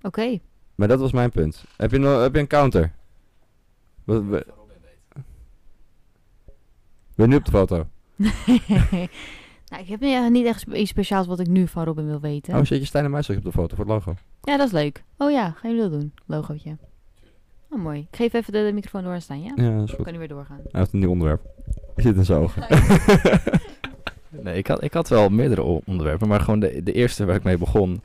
Speaker 5: Oké.
Speaker 3: Maar dat was mijn punt. Heb je, nog, heb je een counter? We, we, we nu op de foto.
Speaker 5: *laughs* nou, ik heb eh, niet echt spe- iets speciaals wat ik nu van Robin wil weten.
Speaker 3: Oh, zit je Stijn en Muis op de foto voor het logo?
Speaker 5: ja, dat is leuk. Oh ja, gaan jullie dat doen? Logootje. Oh, mooi. Ik geef even de, de microfoon door aan Stijn, ja?
Speaker 3: Ja, dat is
Speaker 5: We
Speaker 3: goed.
Speaker 5: kunnen weer doorgaan.
Speaker 3: Hij heeft een nieuw onderwerp. Hij zit in zijn ogen.
Speaker 4: Nee, ik had, ik had wel meerdere o- onderwerpen, maar gewoon de, de eerste waar ik mee begon.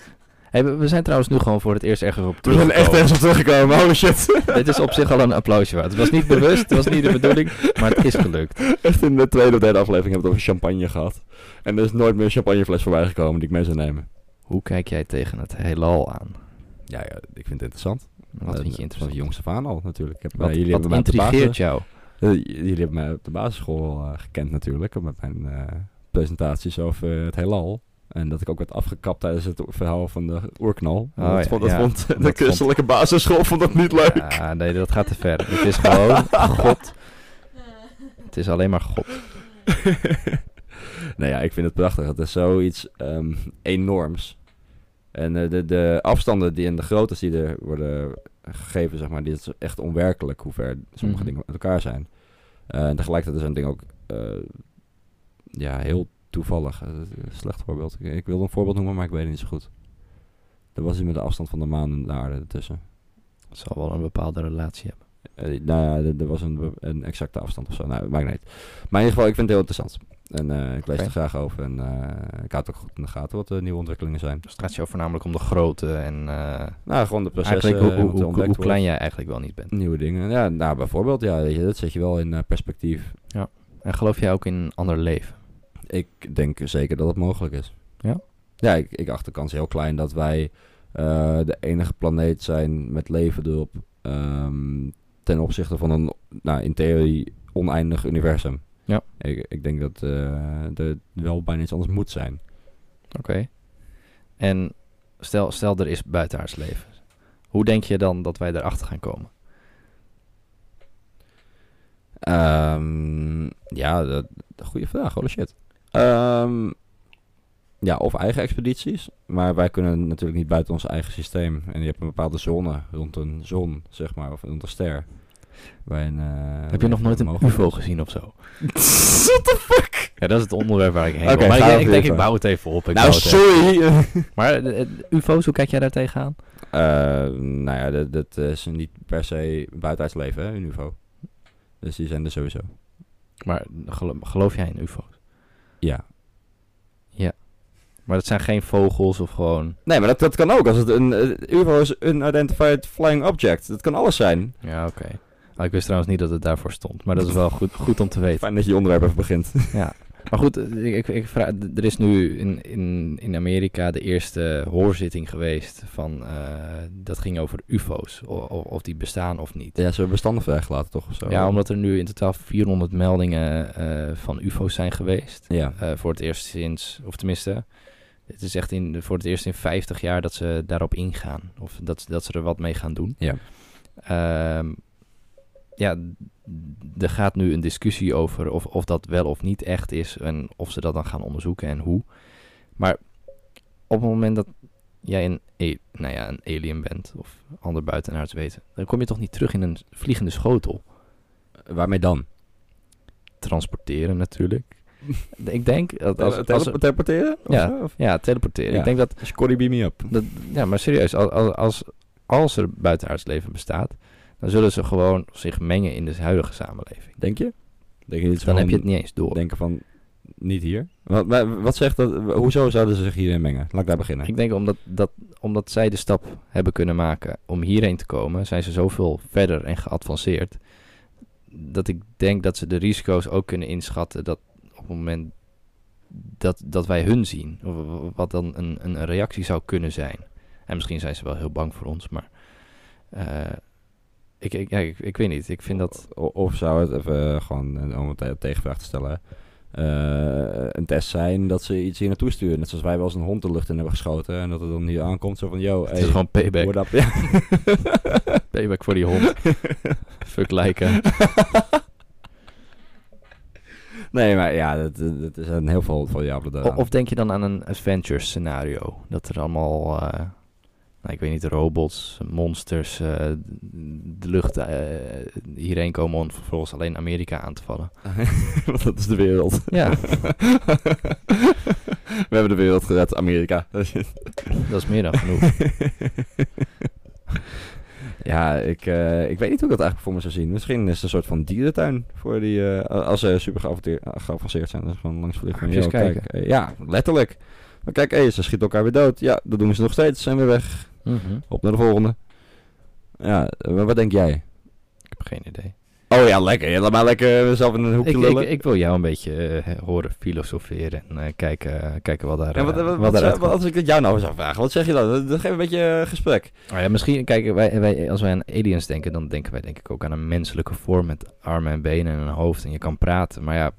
Speaker 4: Hey, we, we zijn trouwens nu gewoon voor het eerst ergens op
Speaker 3: *laughs* We zijn echt
Speaker 4: teruggekomen.
Speaker 3: ergens op teruggekomen, holy shit.
Speaker 4: Dit is op zich al een applausje waard. Het was niet bewust, het was niet de bedoeling, maar het is gelukt.
Speaker 3: *laughs* Echt in de tweede of derde aflevering hebben we het over champagne gehad. En er is nooit meer een champagnefles voorbij gekomen die ik mee zou nemen.
Speaker 4: Hoe kijk jij tegen het heelal aan?
Speaker 3: Ja, ja, ik vind het interessant. Eh,
Speaker 4: Wat vind je interessant?
Speaker 3: Van jongs af aan al, natuurlijk. Ik heb,
Speaker 4: Wat,
Speaker 3: eh, jullie,
Speaker 4: wat
Speaker 3: hebben mij op de
Speaker 4: intrigeert
Speaker 3: basis,
Speaker 4: jou?
Speaker 3: Eh, j- jullie hebben mij op de basisschool eh, gekend natuurlijk, met mijn eh, presentaties over het heelal. En dat ik ook werd afgekapt tijdens het verhaal van de oerknal.
Speaker 4: Oh,
Speaker 3: dat
Speaker 4: ja,
Speaker 3: vond, dat
Speaker 4: ja.
Speaker 3: vond de
Speaker 4: vond-
Speaker 3: christelijke basisschool vond dat niet leuk.
Speaker 4: Ja, nee, dat gaat te ver. Het is gewoon God. Het is alleen maar God.
Speaker 3: *laughs* nou ja, ik vind het prachtig. Het is zoiets ehm, enorms. En eh, de, de afstanden die, en de groottes die er worden gegeven, zeg maar, dit is echt onwerkelijk hoe ver sommige
Speaker 4: Mhm.
Speaker 3: dingen met elkaar zijn. Eh, en tegelijkertijd is een ding ook eh, ja, heel toevallig. Eh, dat is een slecht voorbeeld. Ik, ik wilde een voorbeeld noemen, maar ik weet het niet zo goed. Er was iets met de afstand van de maan en de aarde ertussen.
Speaker 4: Het zal wel een bepaalde relatie hebben.
Speaker 3: Eh, nou ja, er- er was een, be- een exacte afstand of zo. Nou, maakt niet uit. Maar in ieder geval, ik vind het heel interessant. En eh, ik lees
Speaker 4: Oké.
Speaker 3: er graag over. En eh, ik houd ook goed in de gaten wat de nieuwe ontwikkelingen zijn.
Speaker 4: Dus het gaat jou voornamelijk om de grootte en eh
Speaker 3: Nou, gewoon de processen.
Speaker 4: eigenlijk hoe,
Speaker 3: eh, wat er
Speaker 4: hoe, hoe,
Speaker 3: ontdekt
Speaker 4: hoe klein
Speaker 3: wordt.
Speaker 4: jij eigenlijk wel niet bent.
Speaker 3: Nieuwe dingen. Ja, nou, bijvoorbeeld, ja, weet je, dat zet je wel in eh, perspectief.
Speaker 4: En geloof jij ook in een ander leven?
Speaker 3: Ik denk zeker dat het mogelijk is.
Speaker 4: Ja?
Speaker 3: Ja, ik, ik acht de kans heel klein dat wij eh, de enige planeet zijn met leven erop. ehm, ten opzichte van een, nou, in theorie, oneindig universum.
Speaker 4: Ja.
Speaker 3: Ik, ik denk dat eh, er wel bijna iets anders moet zijn.
Speaker 4: Oké. En stel, stel er is buitenaards leven. Hoe denk je dan dat wij daarachter gaan komen?
Speaker 3: Ehm, ja, dat, goede vraag. Holy shit. Ehm, ja, of eigen expedities. Maar wij kunnen natuurlijk niet buiten ons eigen systeem. En je hebt een bepaalde zone rond een zon, zeg maar, of rond een ster. Waarin, eh,
Speaker 4: Heb je nog nooit een
Speaker 3: mogelijk
Speaker 4: UFO
Speaker 3: is.
Speaker 4: gezien of zo? What
Speaker 3: *laughs*
Speaker 4: the fuck? Ja, dat is het onderwerp waar ik heen
Speaker 3: Oké,
Speaker 4: wil. Maar
Speaker 3: ga
Speaker 4: ik,
Speaker 3: over
Speaker 4: ik denk, ik
Speaker 3: UFO.
Speaker 4: bouw het even op. Ik
Speaker 3: Nou,
Speaker 4: bouw het even.
Speaker 3: sorry!
Speaker 4: Maar eh, eh, UFO's, hoe kijk jij daar tegenaan?
Speaker 3: Eh, nou ja, dat, dat is niet per se buitenuit leven, hè, een UFO. Dus die zijn er sowieso.
Speaker 4: Maar gelo- geloof jij in UFO's?
Speaker 3: Ja.
Speaker 4: Maar dat zijn geen vogels of gewoon.
Speaker 3: Nee, maar dat, dat kan ook. Als het een eh, UFO is, unidentified flying object. Dat kan alles zijn.
Speaker 4: Ja, oké. Ah, ik wist trouwens niet dat het daarvoor stond. Maar dat is wel goed, goed om te weten.
Speaker 3: Fijn dat je je onderwerp even begint. *laughs*
Speaker 4: Ja. Maar goed, eh, ik, ik vraag, d- er is nu in, in, in Amerika de eerste hoorzitting geweest van, eh, dat ging over UFO's, o- o- of, die bestaan of niet.
Speaker 3: Ja, ze hebben bestanden vrijgelaten, toch? Of zo?
Speaker 4: Ja, omdat er nu in totaal 400 meldingen eh, van UFO's zijn geweest.
Speaker 3: Ja.
Speaker 4: Eh, voor het eerst sinds, of tenminste, het is echt in, voor het eerst in 50 jaar dat ze daarop ingaan. Of dat, ze- dat ze er wat mee gaan doen.
Speaker 3: Ja.
Speaker 4: Ehm, ja, d- er gaat nu een discussie over of, of dat wel of niet echt is en of ze dat dan gaan onderzoeken en hoe. Maar op het moment dat jij een, a- nou ja, een alien bent of ander buitenaards weten, dan kom je toch niet terug in een vliegende schotel.
Speaker 3: Waarmee dan?
Speaker 4: Transporteren natuurlijk. Ik denk dat als, als,
Speaker 3: Als, teleporteren? Of
Speaker 4: Ja.
Speaker 3: zo? Of-
Speaker 4: ja, teleporteren.
Speaker 3: Ja.
Speaker 4: Ik denk dat
Speaker 3: Scotty, beam me up.
Speaker 4: Dat, ja, maar serieus, als, als, als er buitenaards leven bestaat, dan zullen ze gewoon zich mengen in de huidige samenleving.
Speaker 3: Denk je? Denk je iets
Speaker 4: Dan
Speaker 3: van-
Speaker 4: heb je het niet eens door.
Speaker 3: Denken van, niet hier. Wat, wa- wat zegt dat? wa- Hoezo zouden ze zich hierin mengen? Laat ik daar beginnen.
Speaker 4: Ik denk omdat, dat, omdat zij de stap hebben kunnen maken om hierheen te komen, zijn ze zoveel verder en geadvanceerd. Dat ik denk dat ze de risico's ook kunnen inschatten dat op het moment dat, dat wij hun zien, of w- wat dan een, een reactie zou kunnen zijn. En misschien zijn ze wel heel bang voor ons, maar eh, ik, ik, ja, ik, ik weet niet. Ik vind dat.
Speaker 3: O- of zou het even eh, gewoon, eh, om een te- tegenvraag te stellen, eh, een test zijn dat ze iets hier naartoe sturen? Net zoals wij wel eens een hond de lucht in hebben geschoten en dat het dan hier aankomt. Zo van, yo,
Speaker 4: Het is gewoon payback.
Speaker 3: what up? Ja. *laughs*
Speaker 4: Payback voor die hond. Fuck lijken.
Speaker 3: Nee, maar ja, dat, dat dat zijn heel veel variabelen
Speaker 4: O-
Speaker 3: daaraan.
Speaker 4: Of denk je dan aan een adventure scenario? Dat er allemaal, eh, nou, ik weet niet, robots, monsters, eh, de lucht eh, hierheen komen om vervolgens alleen Amerika aan te vallen.
Speaker 3: *laughs* Want dat is de
Speaker 4: *laughs*
Speaker 3: wereld.
Speaker 4: Ja,
Speaker 3: We hebben de wereld gered, Amerika.
Speaker 4: dat is meer dan genoeg.
Speaker 3: *laughs* ja, ik, eh, ik weet niet hoe ik dat eigenlijk voor me zou zien. Misschien is het een soort van dierentuin voor die. eh, als ze super geavanceer- geavanceerd zijn, dan is gewoon langs vliegen.
Speaker 4: Ga je eens
Speaker 3: Yo, kijk,
Speaker 4: kijken.
Speaker 3: eh, ja, letterlijk. Maar kijk, hey, ze schieten elkaar weer dood. Ja, dat doen ze nog steeds. Zijn weer weg.
Speaker 4: Mhm.
Speaker 3: Op naar de volgende. Ja, eh, maar wat denk jij?
Speaker 4: Ik heb geen idee.
Speaker 3: Oh ja, lekker. Ja, laat maar lekker mezelf in een hoekje
Speaker 4: Ik, ik,
Speaker 3: lullen.
Speaker 4: ik wil jou een beetje eh, horen filosoferen en eh, kijken, kijken wat daar
Speaker 3: en wat,
Speaker 4: eh,
Speaker 3: wat, wat,
Speaker 4: daaruit
Speaker 3: zou- wat als ik het jou nou eens zou vragen? Wat zeg je dan? Dat, dat geeft een beetje eh, gesprek.
Speaker 4: Nou ja, misschien, kijk, wij, wij, als wij aan aliens denken, dan denken wij denk ik ook aan een menselijke vorm met armen en benen en een hoofd en je kan praten. Maar ja,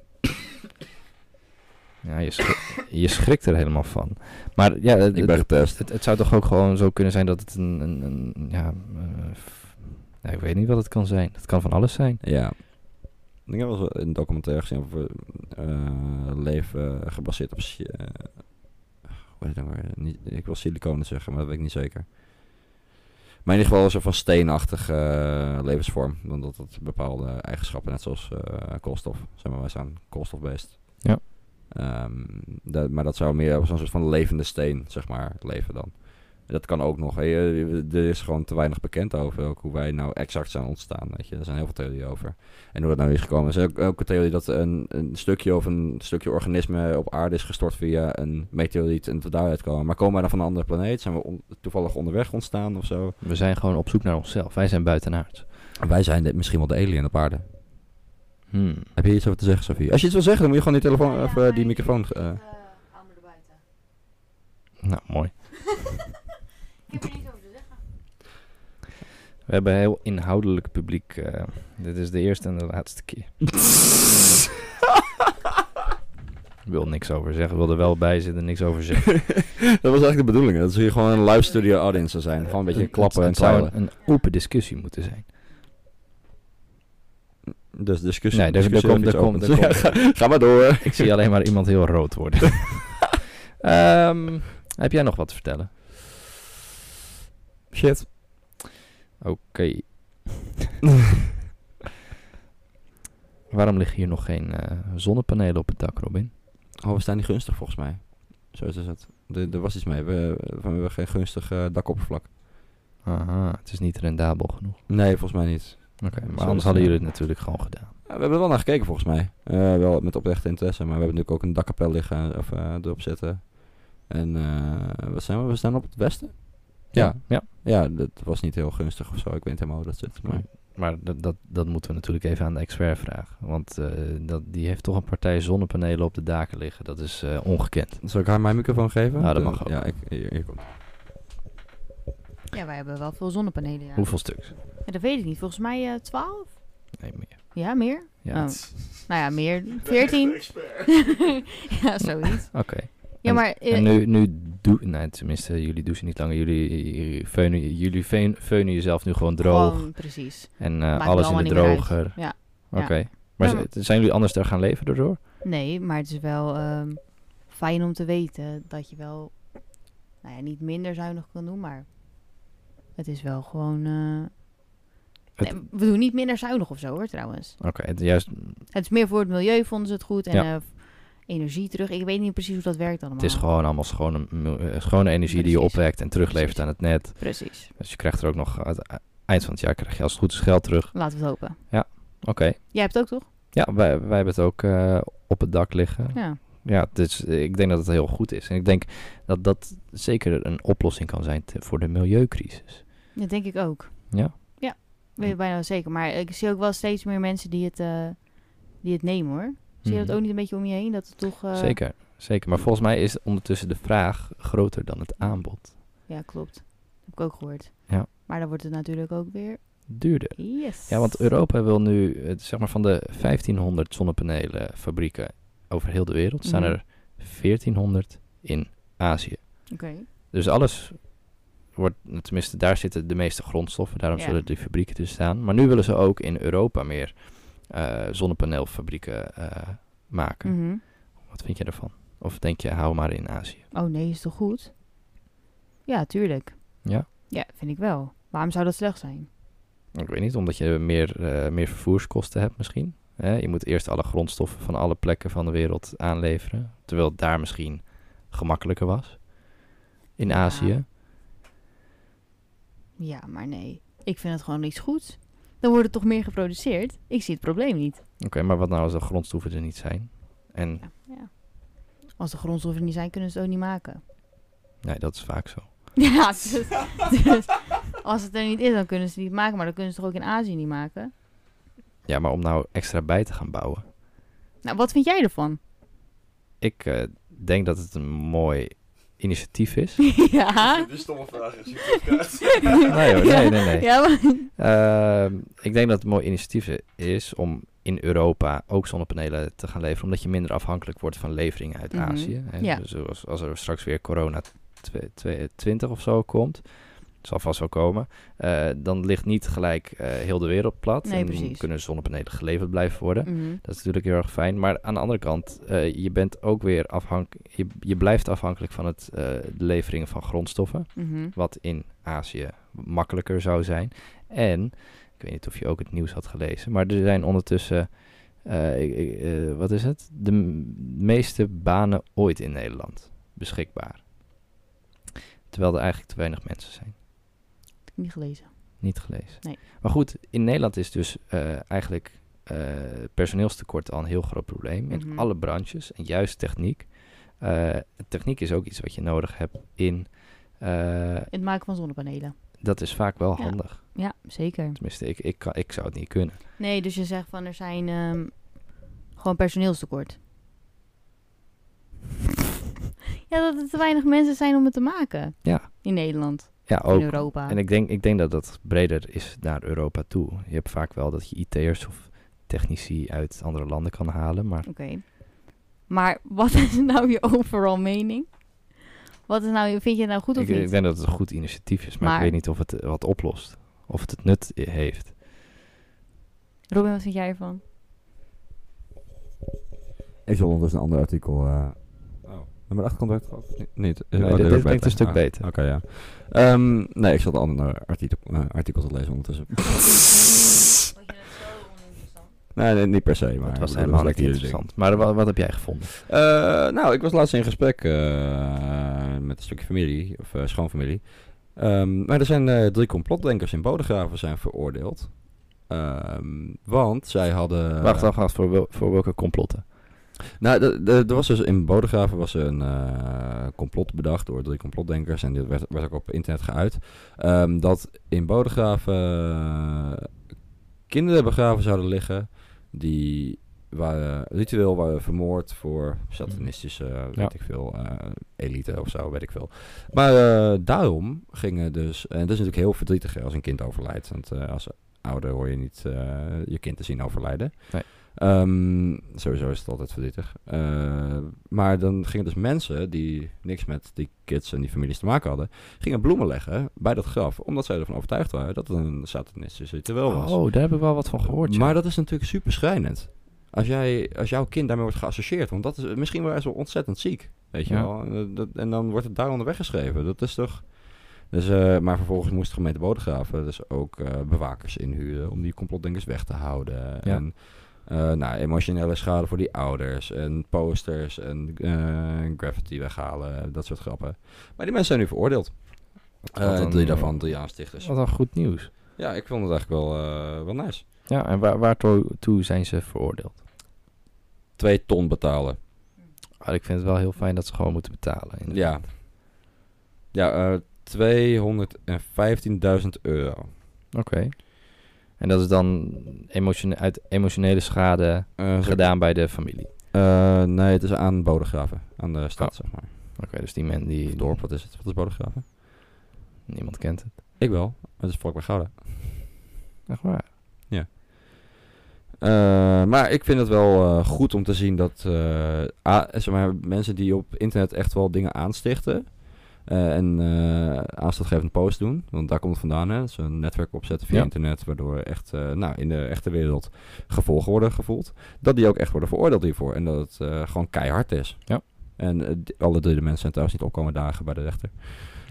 Speaker 4: Ja, je, schri- je schrikt er helemaal van. Maar ja, het,
Speaker 3: Ik ben
Speaker 4: het-
Speaker 3: getest.
Speaker 4: het, het zou toch ook gewoon zo kunnen zijn dat het een... een, een ja, eh, f- ja, ik weet niet wat het kan zijn. Het kan van alles zijn.
Speaker 3: Ja. Ik heb wel eens een documentaire gezien over eh, leven gebaseerd op... si- eh, hoe heet het nou weer? Niet, ik wil siliconen zeggen, maar dat weet ik niet zeker. Maar in ieder geval zo van steenachtige eh, levensvorm. Want dat had bepaalde eigenschappen, net zoals eh, koolstof. Zeg maar, wij zijn koolstofbeest.
Speaker 4: Ja.
Speaker 3: Ehm, dat, maar dat zou meer als een soort van levende steen, zeg maar, leven dan. Dat kan ook nog. hè. Je- Er is gewoon te weinig bekend over ook hoe wij nou exact zijn ontstaan. Weet je. Er zijn heel veel theorieën over. En hoe dat nou is gekomen. Er is ook, ook een theorie dat een, een stukje of een stukje organisme op aarde is gestort via een meteoriet en dat we daaruit komen. Maar komen wij dan van een andere planeet? Zijn we on- toevallig onderweg ontstaan of zo?
Speaker 4: We zijn gewoon op zoek naar onszelf. Wij zijn buitenaard.
Speaker 3: Wij zijn de- misschien wel de alien op aarde.
Speaker 4: Hmm.
Speaker 3: Heb je iets over te zeggen, Sophie? Als je iets wil zeggen, dan moet je gewoon die telefoon of eh, die microfoon. eh,
Speaker 4: Nou, mooi.
Speaker 5: Ik heb er niks over te zeggen.
Speaker 4: We hebben een heel inhoudelijk publiek. eh. dit is de eerste en de laatste *laughs* keer. Ik wil niks over zeggen. Ik wil er wel bij zitten, niks over zeggen.
Speaker 3: *laughs* dat was eigenlijk de bedoeling. Dat ze hier gewoon een live studio audience zou zijn. Gewoon een beetje
Speaker 4: Het-
Speaker 3: klappen en
Speaker 4: Het zou
Speaker 3: klauwen.
Speaker 4: een, een open discussie moeten zijn.
Speaker 3: Dus discussie.
Speaker 4: Nee, daar- daar
Speaker 3: discussie
Speaker 4: komt-
Speaker 3: of
Speaker 4: daar
Speaker 3: iets
Speaker 4: komt-
Speaker 3: opent.
Speaker 4: daar komt-
Speaker 3: Ja, *laughs* ga, ga maar door.
Speaker 4: *laughs* Ik zie alleen maar iemand heel rood *laughs* worden. Ehm, heb jij nog wat te vertellen?
Speaker 3: Shit.
Speaker 4: Oké. *laughs* Waarom liggen hier nog geen eh, zonnepanelen op het dak, Robin?
Speaker 3: Oh, we staan niet gunstig volgens mij. Zo is het. Er, er was iets mee. We, we hebben geen gunstig eh, dakoppervlak.
Speaker 4: Aha, het is niet rendabel genoeg.
Speaker 3: Nee, volgens mij niet.
Speaker 4: Oké,
Speaker 3: Zo
Speaker 4: maar
Speaker 3: is
Speaker 4: anders
Speaker 3: het,
Speaker 4: hadden
Speaker 3: ja.
Speaker 4: jullie het natuurlijk gewoon gedaan.
Speaker 3: Ja, we hebben er wel naar gekeken volgens mij. Eh, wel met oprechte interesse. Maar we hebben natuurlijk ook een dakkapel liggen of eh, erop zitten. En eh, wat zijn we? We staan op het westen? Ja.
Speaker 4: ja.
Speaker 3: Ja, dat was niet heel gunstig of zo. Ik weet niet helemaal hoe dat zit. Maar...
Speaker 4: Maar dat, dat, dat moeten we natuurlijk even aan de expert vragen. Want eh, dat, die heeft toch een partij zonnepanelen op de daken liggen. Dat is eh, ongekend.
Speaker 3: Zal ik haar mijn microfoon geven?
Speaker 4: Nou, dat
Speaker 3: De-
Speaker 4: mag ook.
Speaker 3: Ja, ik, hier, hier komt.
Speaker 5: Ja, wij hebben wel veel zonnepanelen. Ja.
Speaker 4: Hoeveel stuks?
Speaker 5: Ja, dat weet ik niet. Volgens mij eh 12?
Speaker 4: Nee, meer.
Speaker 5: Ja, meer?
Speaker 4: Ja.
Speaker 5: Oh. Nou ja, meer. 14? *laughs* ja, zoiets.
Speaker 4: Oké.
Speaker 5: Ja, maar... eh,
Speaker 4: En nu, nu doe... Nee, tenminste, jullie douchen niet langer. Jullie feunen, jullie feun- feunen jezelf nu gewoon droog.
Speaker 5: Gewoon, precies.
Speaker 4: en eh,
Speaker 5: Maakt me
Speaker 4: alles in
Speaker 5: allemaal
Speaker 4: de
Speaker 5: niet meer uit.
Speaker 4: droger.
Speaker 5: Ja.
Speaker 4: Oké.
Speaker 5: Ja.
Speaker 4: Maar
Speaker 5: Ja,
Speaker 4: z- zijn jullie anders daar gaan leven daardoor?
Speaker 5: Nee, maar het is wel ehm, fijn om te weten dat je wel... Nou ja, niet minder zuinig kan doen, maar... Het is wel gewoon... eh,
Speaker 4: Het-
Speaker 5: nee, we doen niet minder zuinig of zo, hoor, trouwens.
Speaker 4: Oké, het- juist,
Speaker 5: Het is meer voor het milieu, vonden ze het goed. En
Speaker 4: Ja.
Speaker 5: eh, energie terug. Ik weet niet precies hoe dat werkt allemaal.
Speaker 4: het is gewoon allemaal schone, mil- eh, schone energie die je
Speaker 5: Precies.
Speaker 4: opwekt en teruglevert
Speaker 5: Precies.
Speaker 4: aan het net.
Speaker 5: Precies.
Speaker 4: Dus je krijgt er ook nog... aan het eind van het jaar krijg je als het goed is geld terug.
Speaker 5: Laten we het hopen.
Speaker 4: Oké.
Speaker 5: Jij hebt het ook, toch?
Speaker 4: Ja, wij, wij hebben het ook eh, op het dak liggen.
Speaker 5: Ja.
Speaker 4: Ja, dus eh, ik denk dat het heel goed is. En ik denk dat dat zeker een oplossing kan zijn te- voor de milieucrisis.
Speaker 5: Dat denk ik ook.
Speaker 4: Ja?
Speaker 5: Ja, weet ik bijna wel zeker. Maar ik zie ook wel steeds meer mensen die het, eh, die het nemen, hoor. Zie je dat
Speaker 4: Mhm.
Speaker 5: ook niet een beetje om je heen? Dat het toch... eh,
Speaker 4: Zeker, zeker. Maar volgens mij is ondertussen de vraag groter dan het aanbod.
Speaker 5: Ja, klopt. heb ik ook gehoord.
Speaker 4: Ja.
Speaker 5: Maar dan wordt het natuurlijk ook weer...
Speaker 4: Duurder.
Speaker 5: Yes.
Speaker 4: Ja, want Europa wil nu, eh, zeg maar van de 1500 zonnepanelenfabrieken over heel de wereld, staan
Speaker 5: Mhm.
Speaker 4: er 1400 in Azië.
Speaker 5: Oké.
Speaker 4: Dus alles wordt, nou, tenminste daar zitten de meeste grondstoffen, daarom
Speaker 5: Ja.
Speaker 4: zullen die fabrieken dus staan. Maar nu willen ze ook in Europa meer eh, zonnepaneelfabrieken eh, maken.
Speaker 5: Mhm.
Speaker 4: Wat vind je daarvan? Of denk je, hou maar in Azië?
Speaker 5: Oh nee, is toch goed? Ja, tuurlijk.
Speaker 4: Ja?
Speaker 5: Ja, vind ik wel. Waarom zou dat slecht zijn?
Speaker 4: Ik weet niet, omdat je meer, eh, meer vervoerskosten hebt misschien. Hè, je moet eerst alle grondstoffen van alle plekken van de wereld aanleveren. Terwijl het daar misschien gemakkelijker was. In
Speaker 5: Ja.
Speaker 4: Azië.
Speaker 5: Ja, maar nee. Ik vind het gewoon iets goeds. Dan wordt er toch meer geproduceerd? Ik zie het probleem niet.
Speaker 4: Oké, maar wat nou als de grondstoffen er niet zijn? En
Speaker 5: Ja. ja. Als de grondstoffen er niet zijn, kunnen ze het ook niet maken. *laughs*
Speaker 4: nee, dat is vaak zo.
Speaker 5: Ja, dus, dus als het er niet is, dan kunnen ze het niet maken. Maar dan kunnen ze het toch ook in Azië niet maken?
Speaker 4: Ja, maar om nou extra bij te gaan bouwen.
Speaker 5: Nou, wat vind jij ervan?
Speaker 4: Ik eh, denk dat het een mooi initiatief is.
Speaker 5: *laughs* *laughs* ja.
Speaker 2: Dit is stomme vraag. dus is die podcast.
Speaker 5: *laughs*
Speaker 4: nee hoor, nee, nee, nee.
Speaker 5: Ja, maar-
Speaker 4: Ehm, ik denk dat het een mooi initiatief i- is om in Europa ook zonnepanelen te gaan leveren, omdat je minder afhankelijk wordt van leveringen uit
Speaker 5: Mhm,
Speaker 4: Azië. En
Speaker 5: ja.
Speaker 4: Dus als, als er straks weer corona twe- twe- 20 of zo komt, zal vast wel komen, eh, dan ligt niet gelijk eh, heel de wereld plat.
Speaker 5: Nee,
Speaker 4: en
Speaker 5: precies.
Speaker 4: kunnen zonnepanelen geleverd blijven worden.
Speaker 5: Mhm.
Speaker 4: Dat is natuurlijk heel erg fijn. Maar aan de andere kant, eh, je bent ook weer afhankelijk. Je, je blijft afhankelijk van het, eh, de leveringen van grondstoffen.
Speaker 5: Mhm.
Speaker 4: Wat in Azië makkelijker zou zijn. En ik weet niet of je ook het nieuws had gelezen. Maar er zijn ondertussen. eh, ik- ik- eh, wat is het? De m- meeste banen ooit in Nederland beschikbaar. Terwijl er eigenlijk te weinig mensen zijn.
Speaker 5: Niet gelezen.
Speaker 4: Niet gelezen.
Speaker 5: Nee.
Speaker 4: Maar goed, in Nederland is dus eh, eigenlijk eh, personeelstekort al een heel groot probleem. In
Speaker 5: Mhm.
Speaker 4: alle branches en juist techniek. Eh, techniek is ook iets wat je nodig hebt in. eh,
Speaker 5: Het maken van zonnepanelen.
Speaker 4: dat is vaak wel
Speaker 5: Ja.
Speaker 4: handig.
Speaker 5: Ja, zeker.
Speaker 4: Tenminste, ik, ik, kan, ik zou het niet kunnen.
Speaker 5: Nee, dus je zegt van er zijn ehm, gewoon personeelstekort. *laughs* ja, dat er te weinig mensen zijn om het te maken.
Speaker 4: Ja.
Speaker 5: In Nederland,
Speaker 4: Ja,
Speaker 5: in
Speaker 4: ook.
Speaker 5: Europa.
Speaker 4: En ik denk, ik denk dat dat breder is naar Europa toe. Je hebt vaak wel dat je IT'ers of technici uit andere landen kan halen. Maar
Speaker 5: Oké. Maar wat is nou je overal mening? Wat is nou, je- vind je het nou goed of
Speaker 4: ik, eh,
Speaker 5: niet?
Speaker 4: ik denk dat het een goed initiatief is. Maar,
Speaker 5: Maar-
Speaker 4: ik weet niet of het eh, wat oplost. Of het het nut i- heeft.
Speaker 5: Robin, wat vind jij ervan?
Speaker 3: Ik zal ondertussen een ander artikel. eh Nummer 8 contract gehad? Nee, Niet. Eh,
Speaker 4: Oh. Nee,
Speaker 3: oh, is
Speaker 4: dit- dit
Speaker 3: beter.
Speaker 4: klinkt een stuk
Speaker 3: Ah,
Speaker 4: beter.
Speaker 3: Oké, ja. Ehm, nee, ik zat een ander artikel, eh, artikel te lezen ondertussen. nee, nee, niet per se. Maar
Speaker 4: het
Speaker 3: ik bedoel,
Speaker 4: was helemaal niet
Speaker 3: lekker jullie ding.
Speaker 4: interessant. Maar wat, wat heb jij gevonden?
Speaker 3: Eh, nou, ik was laatst in gesprek eh, met een stukje familie, of eh, schoonfamilie. Ehm, maar er zijn eh, drie complotdenkers in Bodegraven zijn veroordeeld. Ehm, want zij hadden...
Speaker 4: wacht, wacht, wacht. Voor, wel- voor welke complotten?
Speaker 3: Nou, de- de- er was dus in Bodegraven was een eh, complot bedacht door drie complotdenkers. En dit werd, werd ook op internet geuit. Ehm, dat in Bodegraven eh, kinderen begraven zouden liggen. Die waren ritueel waren vermoord voor satanistische, weet
Speaker 4: Ja.
Speaker 3: ik veel, eh, elite of zo, weet ik veel. Maar eh, daarom gingen dus... En dat is natuurlijk heel verdrietig hè, als een kind overlijdt. Want eh, als ouder hoor je niet eh, je kind te zien overlijden.
Speaker 4: Nee.
Speaker 3: Ehm, sowieso is het altijd verdrietig. Eh, maar dan gingen dus mensen die niks met die kids en die families te maken hadden, gingen bloemen leggen bij dat graf. Omdat zij ervan overtuigd waren dat het een satanistisch ritueel was.
Speaker 4: Oh, daar heb ik wel wat van gehoord. ja.
Speaker 3: Maar dat is natuurlijk super schrijnend. Als, jij, als jouw kind daarmee wordt geassocieerd, want dat is misschien wel eens wel ontzettend ziek. Weet je
Speaker 4: Ja.
Speaker 3: wel? En, dat- dat- en dan wordt het daaronder weggeschreven. Dat is toch. Dus, eh, maar vervolgens moest de gemeente Bodegraven dus ook eh, bewakers inhuren om die complotdenkers weg te houden.
Speaker 4: Ja.
Speaker 3: En eh, nou, emotionele schade voor die ouders en posters en eh, graffiti weghalen, dat soort grappen. Maar die mensen zijn nu veroordeeld. Eh,
Speaker 4: Wat een-
Speaker 3: drie daarvan, drie aanstichters.
Speaker 4: Wat een goed nieuws.
Speaker 3: Ja, ik vond het eigenlijk wel, eh, wel nice.
Speaker 4: Ja, en waar, waartoe toe zijn ze veroordeeld?
Speaker 3: Twee ton betalen.
Speaker 4: Ah, ik vind het wel heel fijn dat ze gewoon moeten betalen.
Speaker 3: Ja.
Speaker 4: inderdaad.
Speaker 3: Ja, eh 215.000 euro.
Speaker 4: Oké. En dat is dan emotione- uit emotionele schade
Speaker 3: Eh, zeg-
Speaker 4: gedaan bij de familie. Oké,
Speaker 3: eh, nee, het is aan Bodegraven. Aan de stad,
Speaker 4: Oh.
Speaker 3: zeg maar.
Speaker 4: dus die men die...
Speaker 3: Of dorp, wat is het? Wat is Bodegraven?
Speaker 4: Niemand kent het.
Speaker 3: Ik wel. Het is vlakbij Gouda.
Speaker 4: Echt waar.
Speaker 3: Eh, maar ik vind het wel eh, goed om te zien dat eh, a- zeg maar, mensen die op internet echt wel dingen aanstichten eh, en eh aanstootgevend post doen, want daar komt het vandaan, hè, zo'n netwerk opzetten via
Speaker 4: Ja.
Speaker 3: internet, waardoor echt eh, nou, in de echte wereld gevolgen worden gevoeld, dat die ook echt worden veroordeeld hiervoor en dat het eh, gewoon keihard is.
Speaker 4: Ja.
Speaker 3: En eh, d- alle drie de mensen zijn trouwens niet opkomen dagen bij de rechter.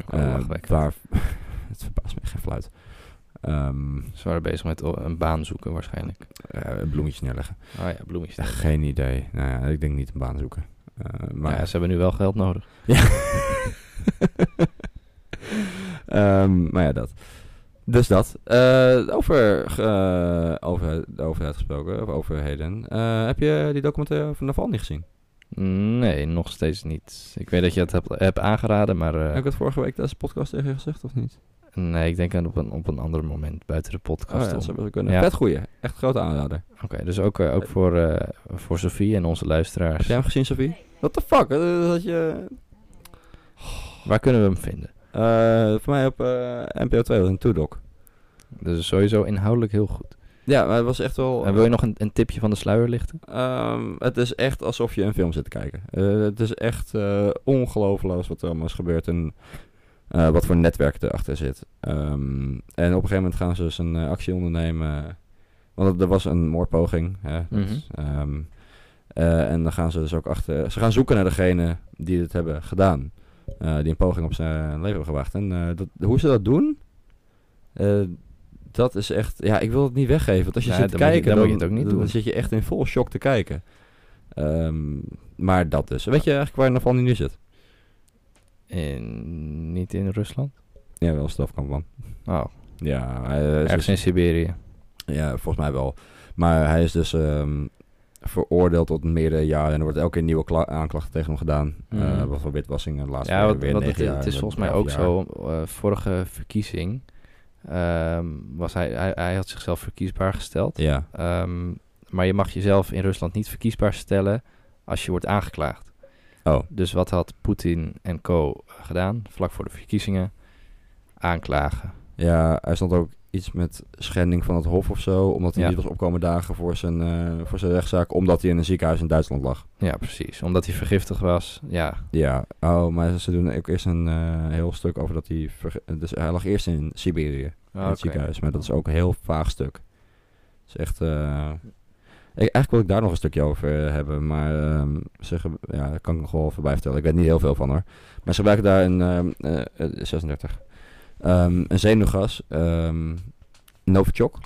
Speaker 4: Gewoon
Speaker 3: Eh,
Speaker 4: lachwekkend.
Speaker 3: waar, *laughs* het verbaast me geen fluit. Ehm
Speaker 4: Ze waren bezig met o- een baan zoeken waarschijnlijk.
Speaker 3: eh, bloemetjes neerleggen.
Speaker 4: Ah ja, bloemetjes.
Speaker 3: Ja, geen idee. Nou ja, ik denk niet een baan zoeken. Eh, maar
Speaker 4: Maar ja, ze hebben nu wel geld nodig.
Speaker 3: *laughs* Ehm, maar ja, dat. Dus dat. Eh, over, eh, over de overheid gesproken, of overheden. Eh, heb je die documentaire van Naval niet gezien?
Speaker 4: Nee, nog steeds niet. Ik weet dat je het hebt, hebt aangeraden, maar... eh,
Speaker 3: Heb ik het vorige week tijdens de podcast tegen je gezegd, of niet?
Speaker 4: Nee, ik denk aan op een, op een ander moment buiten de
Speaker 3: Oh,
Speaker 4: podcast.
Speaker 3: ja, dat
Speaker 4: om.
Speaker 3: zou best kunnen.
Speaker 4: Ja.
Speaker 3: Vet goeie. Echt grote aanrader.
Speaker 4: Oké, dus ook, eh, ook voor, eh, voor Sofie en onze
Speaker 3: Heb
Speaker 4: luisteraars.
Speaker 3: jij hem gezien, Sophie? What the fuck? Eh, Dat je...
Speaker 4: Waar kunnen we hem vinden?
Speaker 3: Eh, voor mij op eh, NPO 2, dat is een toedoc.
Speaker 4: Dat is sowieso inhoudelijk heel goed.
Speaker 3: Ja, maar het was echt wel...
Speaker 4: En wil je nog een, een tipje van de sluier lichten?
Speaker 3: Ehm, het is echt alsof je een film zit te kijken. Eh, het is echt eh ongelooflijk wat er allemaal is gebeurd en eh, wat voor netwerk erachter zit. Ehm, en op een gegeven moment gaan ze dus een eh, actie ondernemen. Want het- er was een moordpoging. Hè, dat
Speaker 4: Mhm.
Speaker 3: is, ehm, eh, en dan gaan ze dus ook achter. Ze gaan zoeken naar degene die het hebben gedaan. Eh, die een poging op zijn leven hebben gewacht. En eh, dat, hoe ze dat doen. eh, dat is echt, ja, ik wil het niet weggeven. Want als je
Speaker 4: Ja,
Speaker 3: zit te
Speaker 4: dan moet je-
Speaker 3: kijken,
Speaker 4: dan moet je het ook niet
Speaker 3: dan
Speaker 4: doen.
Speaker 3: zit je echt in vol shock te kijken. Ehm, maar dat dus. Weet je eigenlijk waar Navalny nu zit?
Speaker 4: In, niet in Rusland?
Speaker 3: Ja, wel strafkamp man.
Speaker 4: Oh,
Speaker 3: Ja, hij Eh, is
Speaker 4: ergens
Speaker 3: dus-
Speaker 4: in Siberië.
Speaker 3: ja, volgens mij wel. Maar hij is dus ehm, veroordeeld tot meerdere jaren. En er wordt elke keer nieuwe kla- aanklachten tegen hem gedaan.
Speaker 4: Mhm.
Speaker 3: Eh, wat voor witwassing en de laatste
Speaker 4: Ja,
Speaker 3: keer
Speaker 4: wat,
Speaker 3: weer
Speaker 4: wat het,
Speaker 3: negen jaar.
Speaker 4: het is
Speaker 3: en
Speaker 4: volgens mij
Speaker 3: elf
Speaker 4: ook
Speaker 3: jaar.
Speaker 4: zo. eh, vorige verkiezing ehm, was hij, hij, hij had zichzelf verkiesbaar gesteld.
Speaker 3: Ja,
Speaker 4: Ehm, maar je mag jezelf in Rusland niet verkiesbaar stellen als je wordt aangeklaagd.
Speaker 3: Oh.
Speaker 4: Dus wat had Poetin en co gedaan vlak voor de verkiezingen? Aanklagen.
Speaker 3: ja, hij stond ook iets met schending van het hof of zo. Omdat hij
Speaker 4: Ja.
Speaker 3: niet was opkomen dagen voor zijn, eh, voor zijn rechtszaak. Omdat hij in een ziekenhuis in Duitsland lag.
Speaker 4: Ja, precies. Omdat hij vergiftigd was. Ja,
Speaker 3: Ja, oh, maar ze doen ook eerst een eh, heel stuk over dat hij... verge- Dus hij lag eerst in Siberië, in
Speaker 4: Ah, Oké.
Speaker 3: het ziekenhuis. Maar dat is ook een heel vaag stuk. Het is echt... eh, ik, eigenlijk wil ik daar nog een stukje over eh, hebben, maar ehm, ze ge- ja, daar kan ik nog wel even bij vertellen. Ik weet niet heel veel van hoor. Maar ze gebruiken daar een ehm, eh, eh, 36. Ehm, een zenuwgas, ehm, Novichok.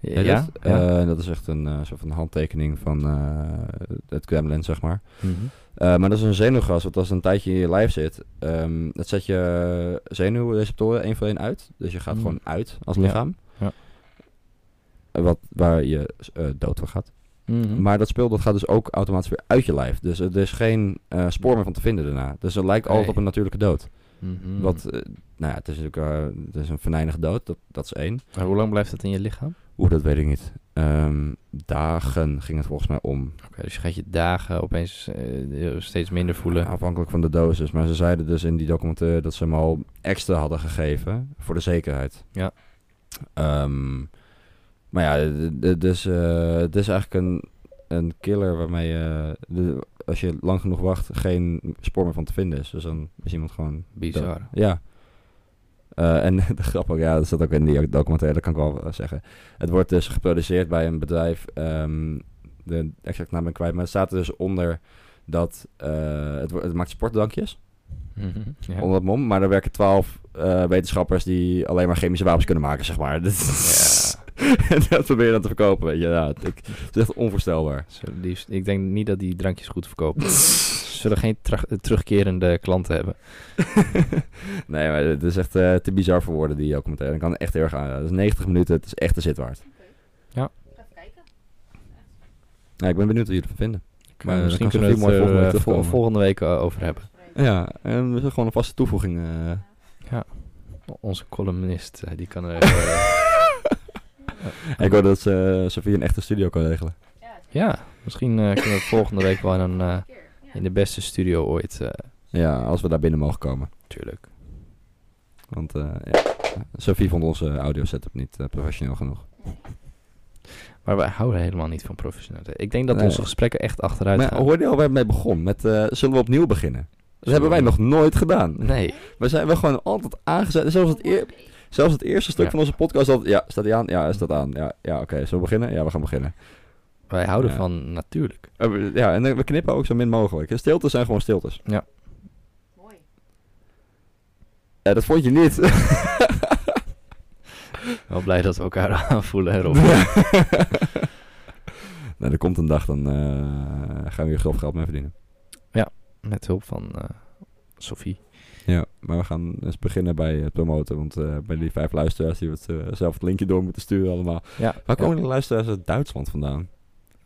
Speaker 4: ja,
Speaker 3: heet
Speaker 4: ja.
Speaker 3: het? Eh, dat is echt een eh, soort van handtekening van eh, het Kremlin, zeg maar.
Speaker 4: Mhm.
Speaker 3: Eh, maar dat is een zenuwgas, want als het een tijdje in je lijf zit, ehm dat zet je zenuwreceptoren één voor één uit. Dus je gaat
Speaker 4: Mm.
Speaker 3: gewoon uit als
Speaker 4: Ja.
Speaker 3: lichaam.
Speaker 4: Ja.
Speaker 3: Eh, Wat, waar je eh, dood van gaat.
Speaker 4: Mhm.
Speaker 3: Maar dat spul dat gaat dus ook automatisch weer uit je lijf. Dus er is geen eh, spoor meer van te vinden daarna. Dus het lijkt altijd
Speaker 4: Nee.
Speaker 3: op een natuurlijke dood.
Speaker 4: Mhm.
Speaker 3: Wat, eh, nou ja, het is natuurlijk eh, het is een venijnige dood, dat, dat is één.
Speaker 4: Maar hoe lang blijft dat in je lichaam?
Speaker 3: Oeh, dat weet ik niet. Ehm, dagen ging het volgens mij om.
Speaker 4: Oké, dus je gaat je dagen opeens eh, steeds minder voelen.
Speaker 3: Afhankelijk van de dosis. Maar ze zeiden dus in die documentaire dat ze hem al extra hadden gegeven. Voor de zekerheid.
Speaker 4: Ja.
Speaker 3: Ehm, maar ja, d- d- dus, eh, het is eigenlijk een, een killer waarmee je, de- als je lang genoeg wacht, geen spoor meer van te vinden is. Dus dan is iemand gewoon
Speaker 4: Bizar.
Speaker 3: Ja. Eh, en *laughs* de grap ook, ja, dat staat ook in die documentaire, dat kan ik wel eh, zeggen. Het wordt dus geproduceerd bij een bedrijf, ehm, de exact naam ben ik kwijt, maar het staat er dus onder dat eh, het, wo- het maakt sportdrankjes
Speaker 4: Mhm. Ja.
Speaker 3: onder het mom, maar daar werken twaalf eh, wetenschappers die alleen maar chemische wapens kunnen maken, zeg maar. *laughs* Dat, en *laughs* dat proberen dan te verkopen, weet je. Ja, het, ik, het is echt
Speaker 4: *laughs*
Speaker 3: onvoorstelbaar.
Speaker 4: Zullen die- ik denk niet dat die drankjes goed verkopen. Ze zullen geen tra- terugkerende klanten hebben.
Speaker 3: *laughs* nee, maar het is echt eh, te bizar voor woorden, die documentaire. Ik kan het echt heel erg aan. Dat is 90 minuten, het is echt de zit waard.
Speaker 5: Even kijken.
Speaker 3: Ja, ik ben benieuwd wat jullie ervan vinden. Maar
Speaker 4: Maar
Speaker 3: dan
Speaker 4: misschien
Speaker 3: kan
Speaker 4: kunnen we het
Speaker 3: Sophie mooi
Speaker 4: er,
Speaker 3: volgende
Speaker 4: eh,
Speaker 3: week
Speaker 4: vol-
Speaker 3: terugkomen.
Speaker 4: volgende week eh, over hebben.
Speaker 3: Ja, en we zijn gewoon een vaste toevoeging. eh.
Speaker 4: O- Onze columnist, eh, die kan *laughs* er... eh,
Speaker 3: Ik hoorde dat ze, Sofie een echte studio kan regelen.
Speaker 4: ja, misschien eh, kunnen we het volgende week wel in, een, eh, in de beste studio ooit. eh
Speaker 3: Ja, als we daar binnen mogen komen.
Speaker 4: tuurlijk.
Speaker 3: Want eh ja. Sophie vond onze audio setup niet eh, professioneel genoeg.
Speaker 4: Maar wij houden helemaal niet van professionaliteit. Ik denk dat
Speaker 3: Nee.
Speaker 4: onze gesprekken echt achteruit
Speaker 3: Maar
Speaker 4: gaan.
Speaker 3: hoorde je al waar het mee begon? Met eh, zullen we opnieuw beginnen? Dat
Speaker 4: Zullen
Speaker 3: hebben wij
Speaker 4: we-
Speaker 3: nog nooit gedaan.
Speaker 4: Nee,
Speaker 3: We zijn wel gewoon altijd aangezet. Zelfs het, eer- zelfs het eerste stuk
Speaker 4: Ja.
Speaker 3: van onze podcast. Dat, ja, staat die aan? Ja, hij staat aan. Ja, ja oké. Zullen we beginnen? Ja, we gaan beginnen.
Speaker 4: wij houden
Speaker 3: Ja.
Speaker 4: van natuurlijk.
Speaker 3: Eh, we- Ja, en eh, we knippen ook zo min mogelijk. hè. Stiltes zijn gewoon stiltes.
Speaker 5: Mooi.
Speaker 3: Eh, dat vond je niet. *laughs*
Speaker 4: Wel blij dat we elkaar *laughs* aanvoelen erop.
Speaker 3: Nou, er komt een dag, dan eh, gaan we hier grof geld mee verdienen.
Speaker 4: Met hulp van eh Sophie.
Speaker 3: Ja, maar we gaan eens beginnen bij het promoten. Want eh, bij die vijf luisteraars die we het, eh, zelf het linkje door moeten sturen allemaal.
Speaker 4: Ja,
Speaker 3: Waar
Speaker 4: ja.
Speaker 3: komen de luisteraars uit Duitsland vandaan?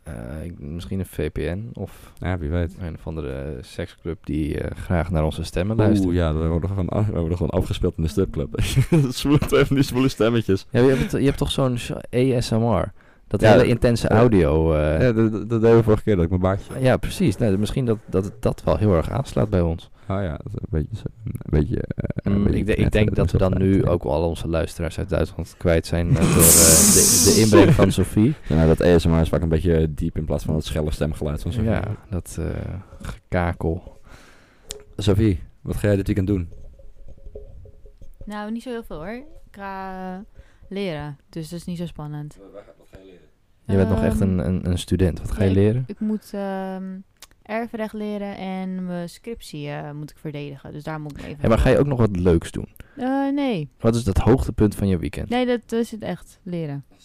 Speaker 4: Eh, ik- misschien een VPN of
Speaker 3: Ja, wie weet.
Speaker 4: een of andere seksclub die eh, graag naar onze stemmen luistert.
Speaker 3: Oeh, ja, we worden, gewoon af- we worden gewoon afgespeeld in de stripclub. *laughs* Zwoele, twee van die zwoele stemmetjes.
Speaker 4: Ja, je, hebt, je hebt toch zo'n sh- ASMR? Dat
Speaker 3: Ja,
Speaker 4: hele
Speaker 3: dat-
Speaker 4: intense
Speaker 3: ja.
Speaker 4: audio. eh,
Speaker 3: Ja, dat, dat deden we vorige keer, dat ik mijn baardje...
Speaker 4: ja. misschien dat, dat het dat wel heel erg aanslaat bij ons.
Speaker 3: Ah ja, dat is een beetje... zo- Een beetje, eh, een
Speaker 4: Mm,
Speaker 3: beetje
Speaker 4: ik, de- ik
Speaker 3: knetteren,
Speaker 4: denk dat we
Speaker 3: is
Speaker 4: dan
Speaker 3: wel fijn.
Speaker 4: nu
Speaker 3: Ja.
Speaker 4: ook al onze luisteraars uit Duitsland kwijt zijn eh, door eh,
Speaker 3: *laughs*
Speaker 4: de, de inbreng van Sophie.
Speaker 3: Ja, nou, dat ASMR is vaak een beetje diep in plaats van het schelle stemgeluid van Sophie.
Speaker 4: Ja, dat eh, gekakel.
Speaker 3: Sophie, wat ga jij dit weekend doen?
Speaker 5: Nou, niet zo heel veel hoor. Ik ga eh, leren, dus dat is niet zo spannend.
Speaker 4: Je bent nog echt
Speaker 5: Ehm,
Speaker 4: een, een, een student. Wat ga
Speaker 5: ja,
Speaker 4: je leren?
Speaker 5: Ik moet ehm erfrecht leren en mijn scriptie eh, moet ik verdedigen. Dus daar moet ik me even...
Speaker 4: Hey, maar ga je ook nog wat leuks doen?
Speaker 5: Eh, nee.
Speaker 4: Wat is dat hoogtepunt van je weekend?
Speaker 5: Nee, dat is het echt. Leren. Het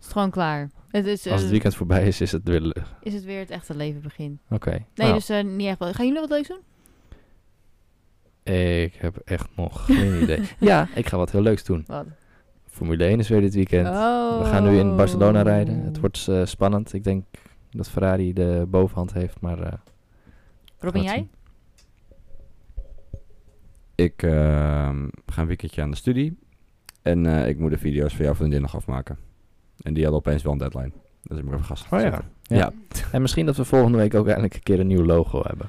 Speaker 5: is gewoon klaar. Het is, eh,
Speaker 4: Als het weekend voorbij is, is het weer... le- Oké.
Speaker 5: is het weer het echte leven begin. Nee,
Speaker 4: Nou,
Speaker 5: dus eh, niet echt wel. Gaan jullie wat leuks doen?
Speaker 4: ik heb echt nog geen idee.
Speaker 5: *laughs*
Speaker 4: Ja, ik ga wat heel leuks doen.
Speaker 5: Wat?
Speaker 4: Formule 1 is weer dit weekend.
Speaker 5: Oh.
Speaker 4: We gaan nu in
Speaker 3: Oh.
Speaker 4: Barcelona rijden. Het wordt eh, spannend. Ik denk dat Ferrari de bovenhand heeft, maar... eh,
Speaker 5: Robin,
Speaker 4: gaat
Speaker 5: jij?
Speaker 3: Ik ehm, ga een weekendje aan de studie. En eh, ik moet de video's voor jouw vriendin nog afmaken. En die hadden opeens wel een deadline. Dus ik moet even gast.
Speaker 4: Oh ja.
Speaker 3: zetten.
Speaker 4: Ja. En misschien dat we volgende week ook eindelijk een keer een nieuw logo hebben.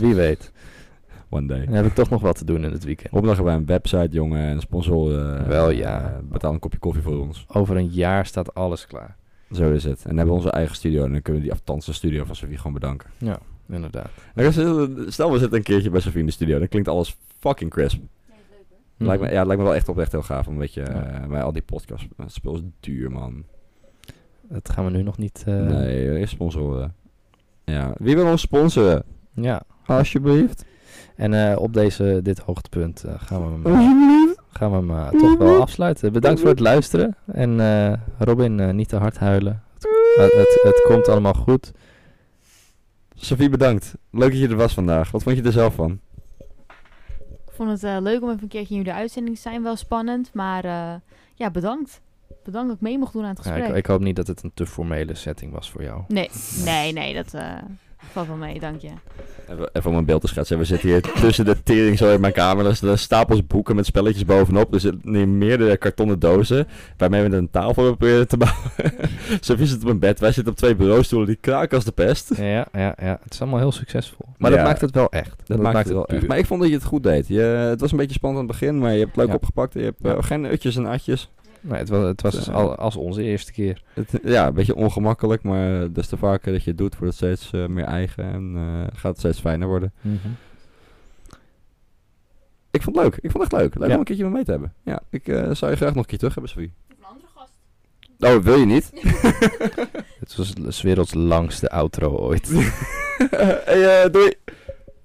Speaker 4: Wie weet. *laughs*
Speaker 3: One day.
Speaker 4: Dan heb ik toch nog wat te doen in het weekend.
Speaker 3: Opdag hebben wij een website, jongen. En sponsoren. eh,
Speaker 4: Wel, ja.
Speaker 3: eh, betaal een kopje koffie voor ons.
Speaker 4: Over een jaar staat alles klaar.
Speaker 3: Zo is het. En dan hebben we onze eigen studio. En dan kunnen we die althans de studio van Sofie gewoon bedanken.
Speaker 4: Inderdaad.
Speaker 3: Nou, Stel, we zitten een keertje bij Sofie in de studio. Dan klinkt alles fucking crisp. Lijkt me, ja, lijkt me wel echt oprecht heel gaaf. Een beetje, eh,
Speaker 4: Mhm. Ja.
Speaker 3: maar al die podcast het spul is duur, man.
Speaker 4: Dat gaan we nu nog niet... eh,
Speaker 3: nee, eerst sponsoren. Ja, wie wil ons sponsoren?
Speaker 4: Ja.
Speaker 3: Alsjeblieft.
Speaker 4: En eh, op deze, dit hoogtepunt eh, gaan we hem, eh, gaan we hem eh, toch wel afsluiten. Bedankt voor het luisteren. En eh, Robin, eh, niet te hard huilen. Het, Eh, het, het komt allemaal goed.
Speaker 3: Sofie, bedankt. Leuk dat je er was vandaag. Wat vond je er zelf van?
Speaker 5: Ik vond het eh, leuk om even een keertje in jullie uitzending te zijn. Wel spannend, maar eh, ja, bedankt. Bedankt dat ik mee mocht doen aan het
Speaker 4: Ja,
Speaker 5: gesprek.
Speaker 4: ik, ik hoop niet dat het een te formele setting was voor jou.
Speaker 5: Nee, nee, nee, dat eh, valt wel mee, dank je.
Speaker 3: Even, even om een beeld te schetsen. We zitten hier tussen de tering zo in mijn kamer. Er staan stapels boeken met spelletjes bovenop. Er zitten hier meerdere kartonnen dozen. Waarmee we een tafel hebben proberen te bouwen. *laughs* Sofie zit op een bed. Wij zitten op twee bureaustoelen die kraken als de pest.
Speaker 4: *laughs* Ja, ja, ja. Het is allemaal heel succesvol. Maar
Speaker 3: Ja.
Speaker 4: dat maakt het wel echt.
Speaker 3: Dat, maakt, het wel echt.
Speaker 4: puur.
Speaker 3: Maar ik vond dat je het goed deed. Je, het was een beetje spannend aan het begin, maar je hebt het leuk
Speaker 4: Ja.
Speaker 3: opgepakt. Je hebt
Speaker 4: Ja.
Speaker 3: eh, geen utjes en atjes.
Speaker 4: Nee, het was, het was
Speaker 3: Eh.
Speaker 4: al, als onze eerste keer.
Speaker 3: Het, ja, een beetje ongemakkelijk, maar des te vaker dat je het doet, wordt het steeds eh, meer eigen en eh, gaat het steeds fijner worden.
Speaker 4: Mhm.
Speaker 3: Ik vond het leuk. Ik vond het echt leuk. Leuk
Speaker 4: Ja.
Speaker 3: om een keertje mee mee te hebben. Ja, ik eh, zou je graag nog een keer terug hebben, Sophie. Of een andere gast. Oh, wil je niet?
Speaker 4: Het was de werelds langste outro ooit.
Speaker 3: *laughs* hey, eh, doei!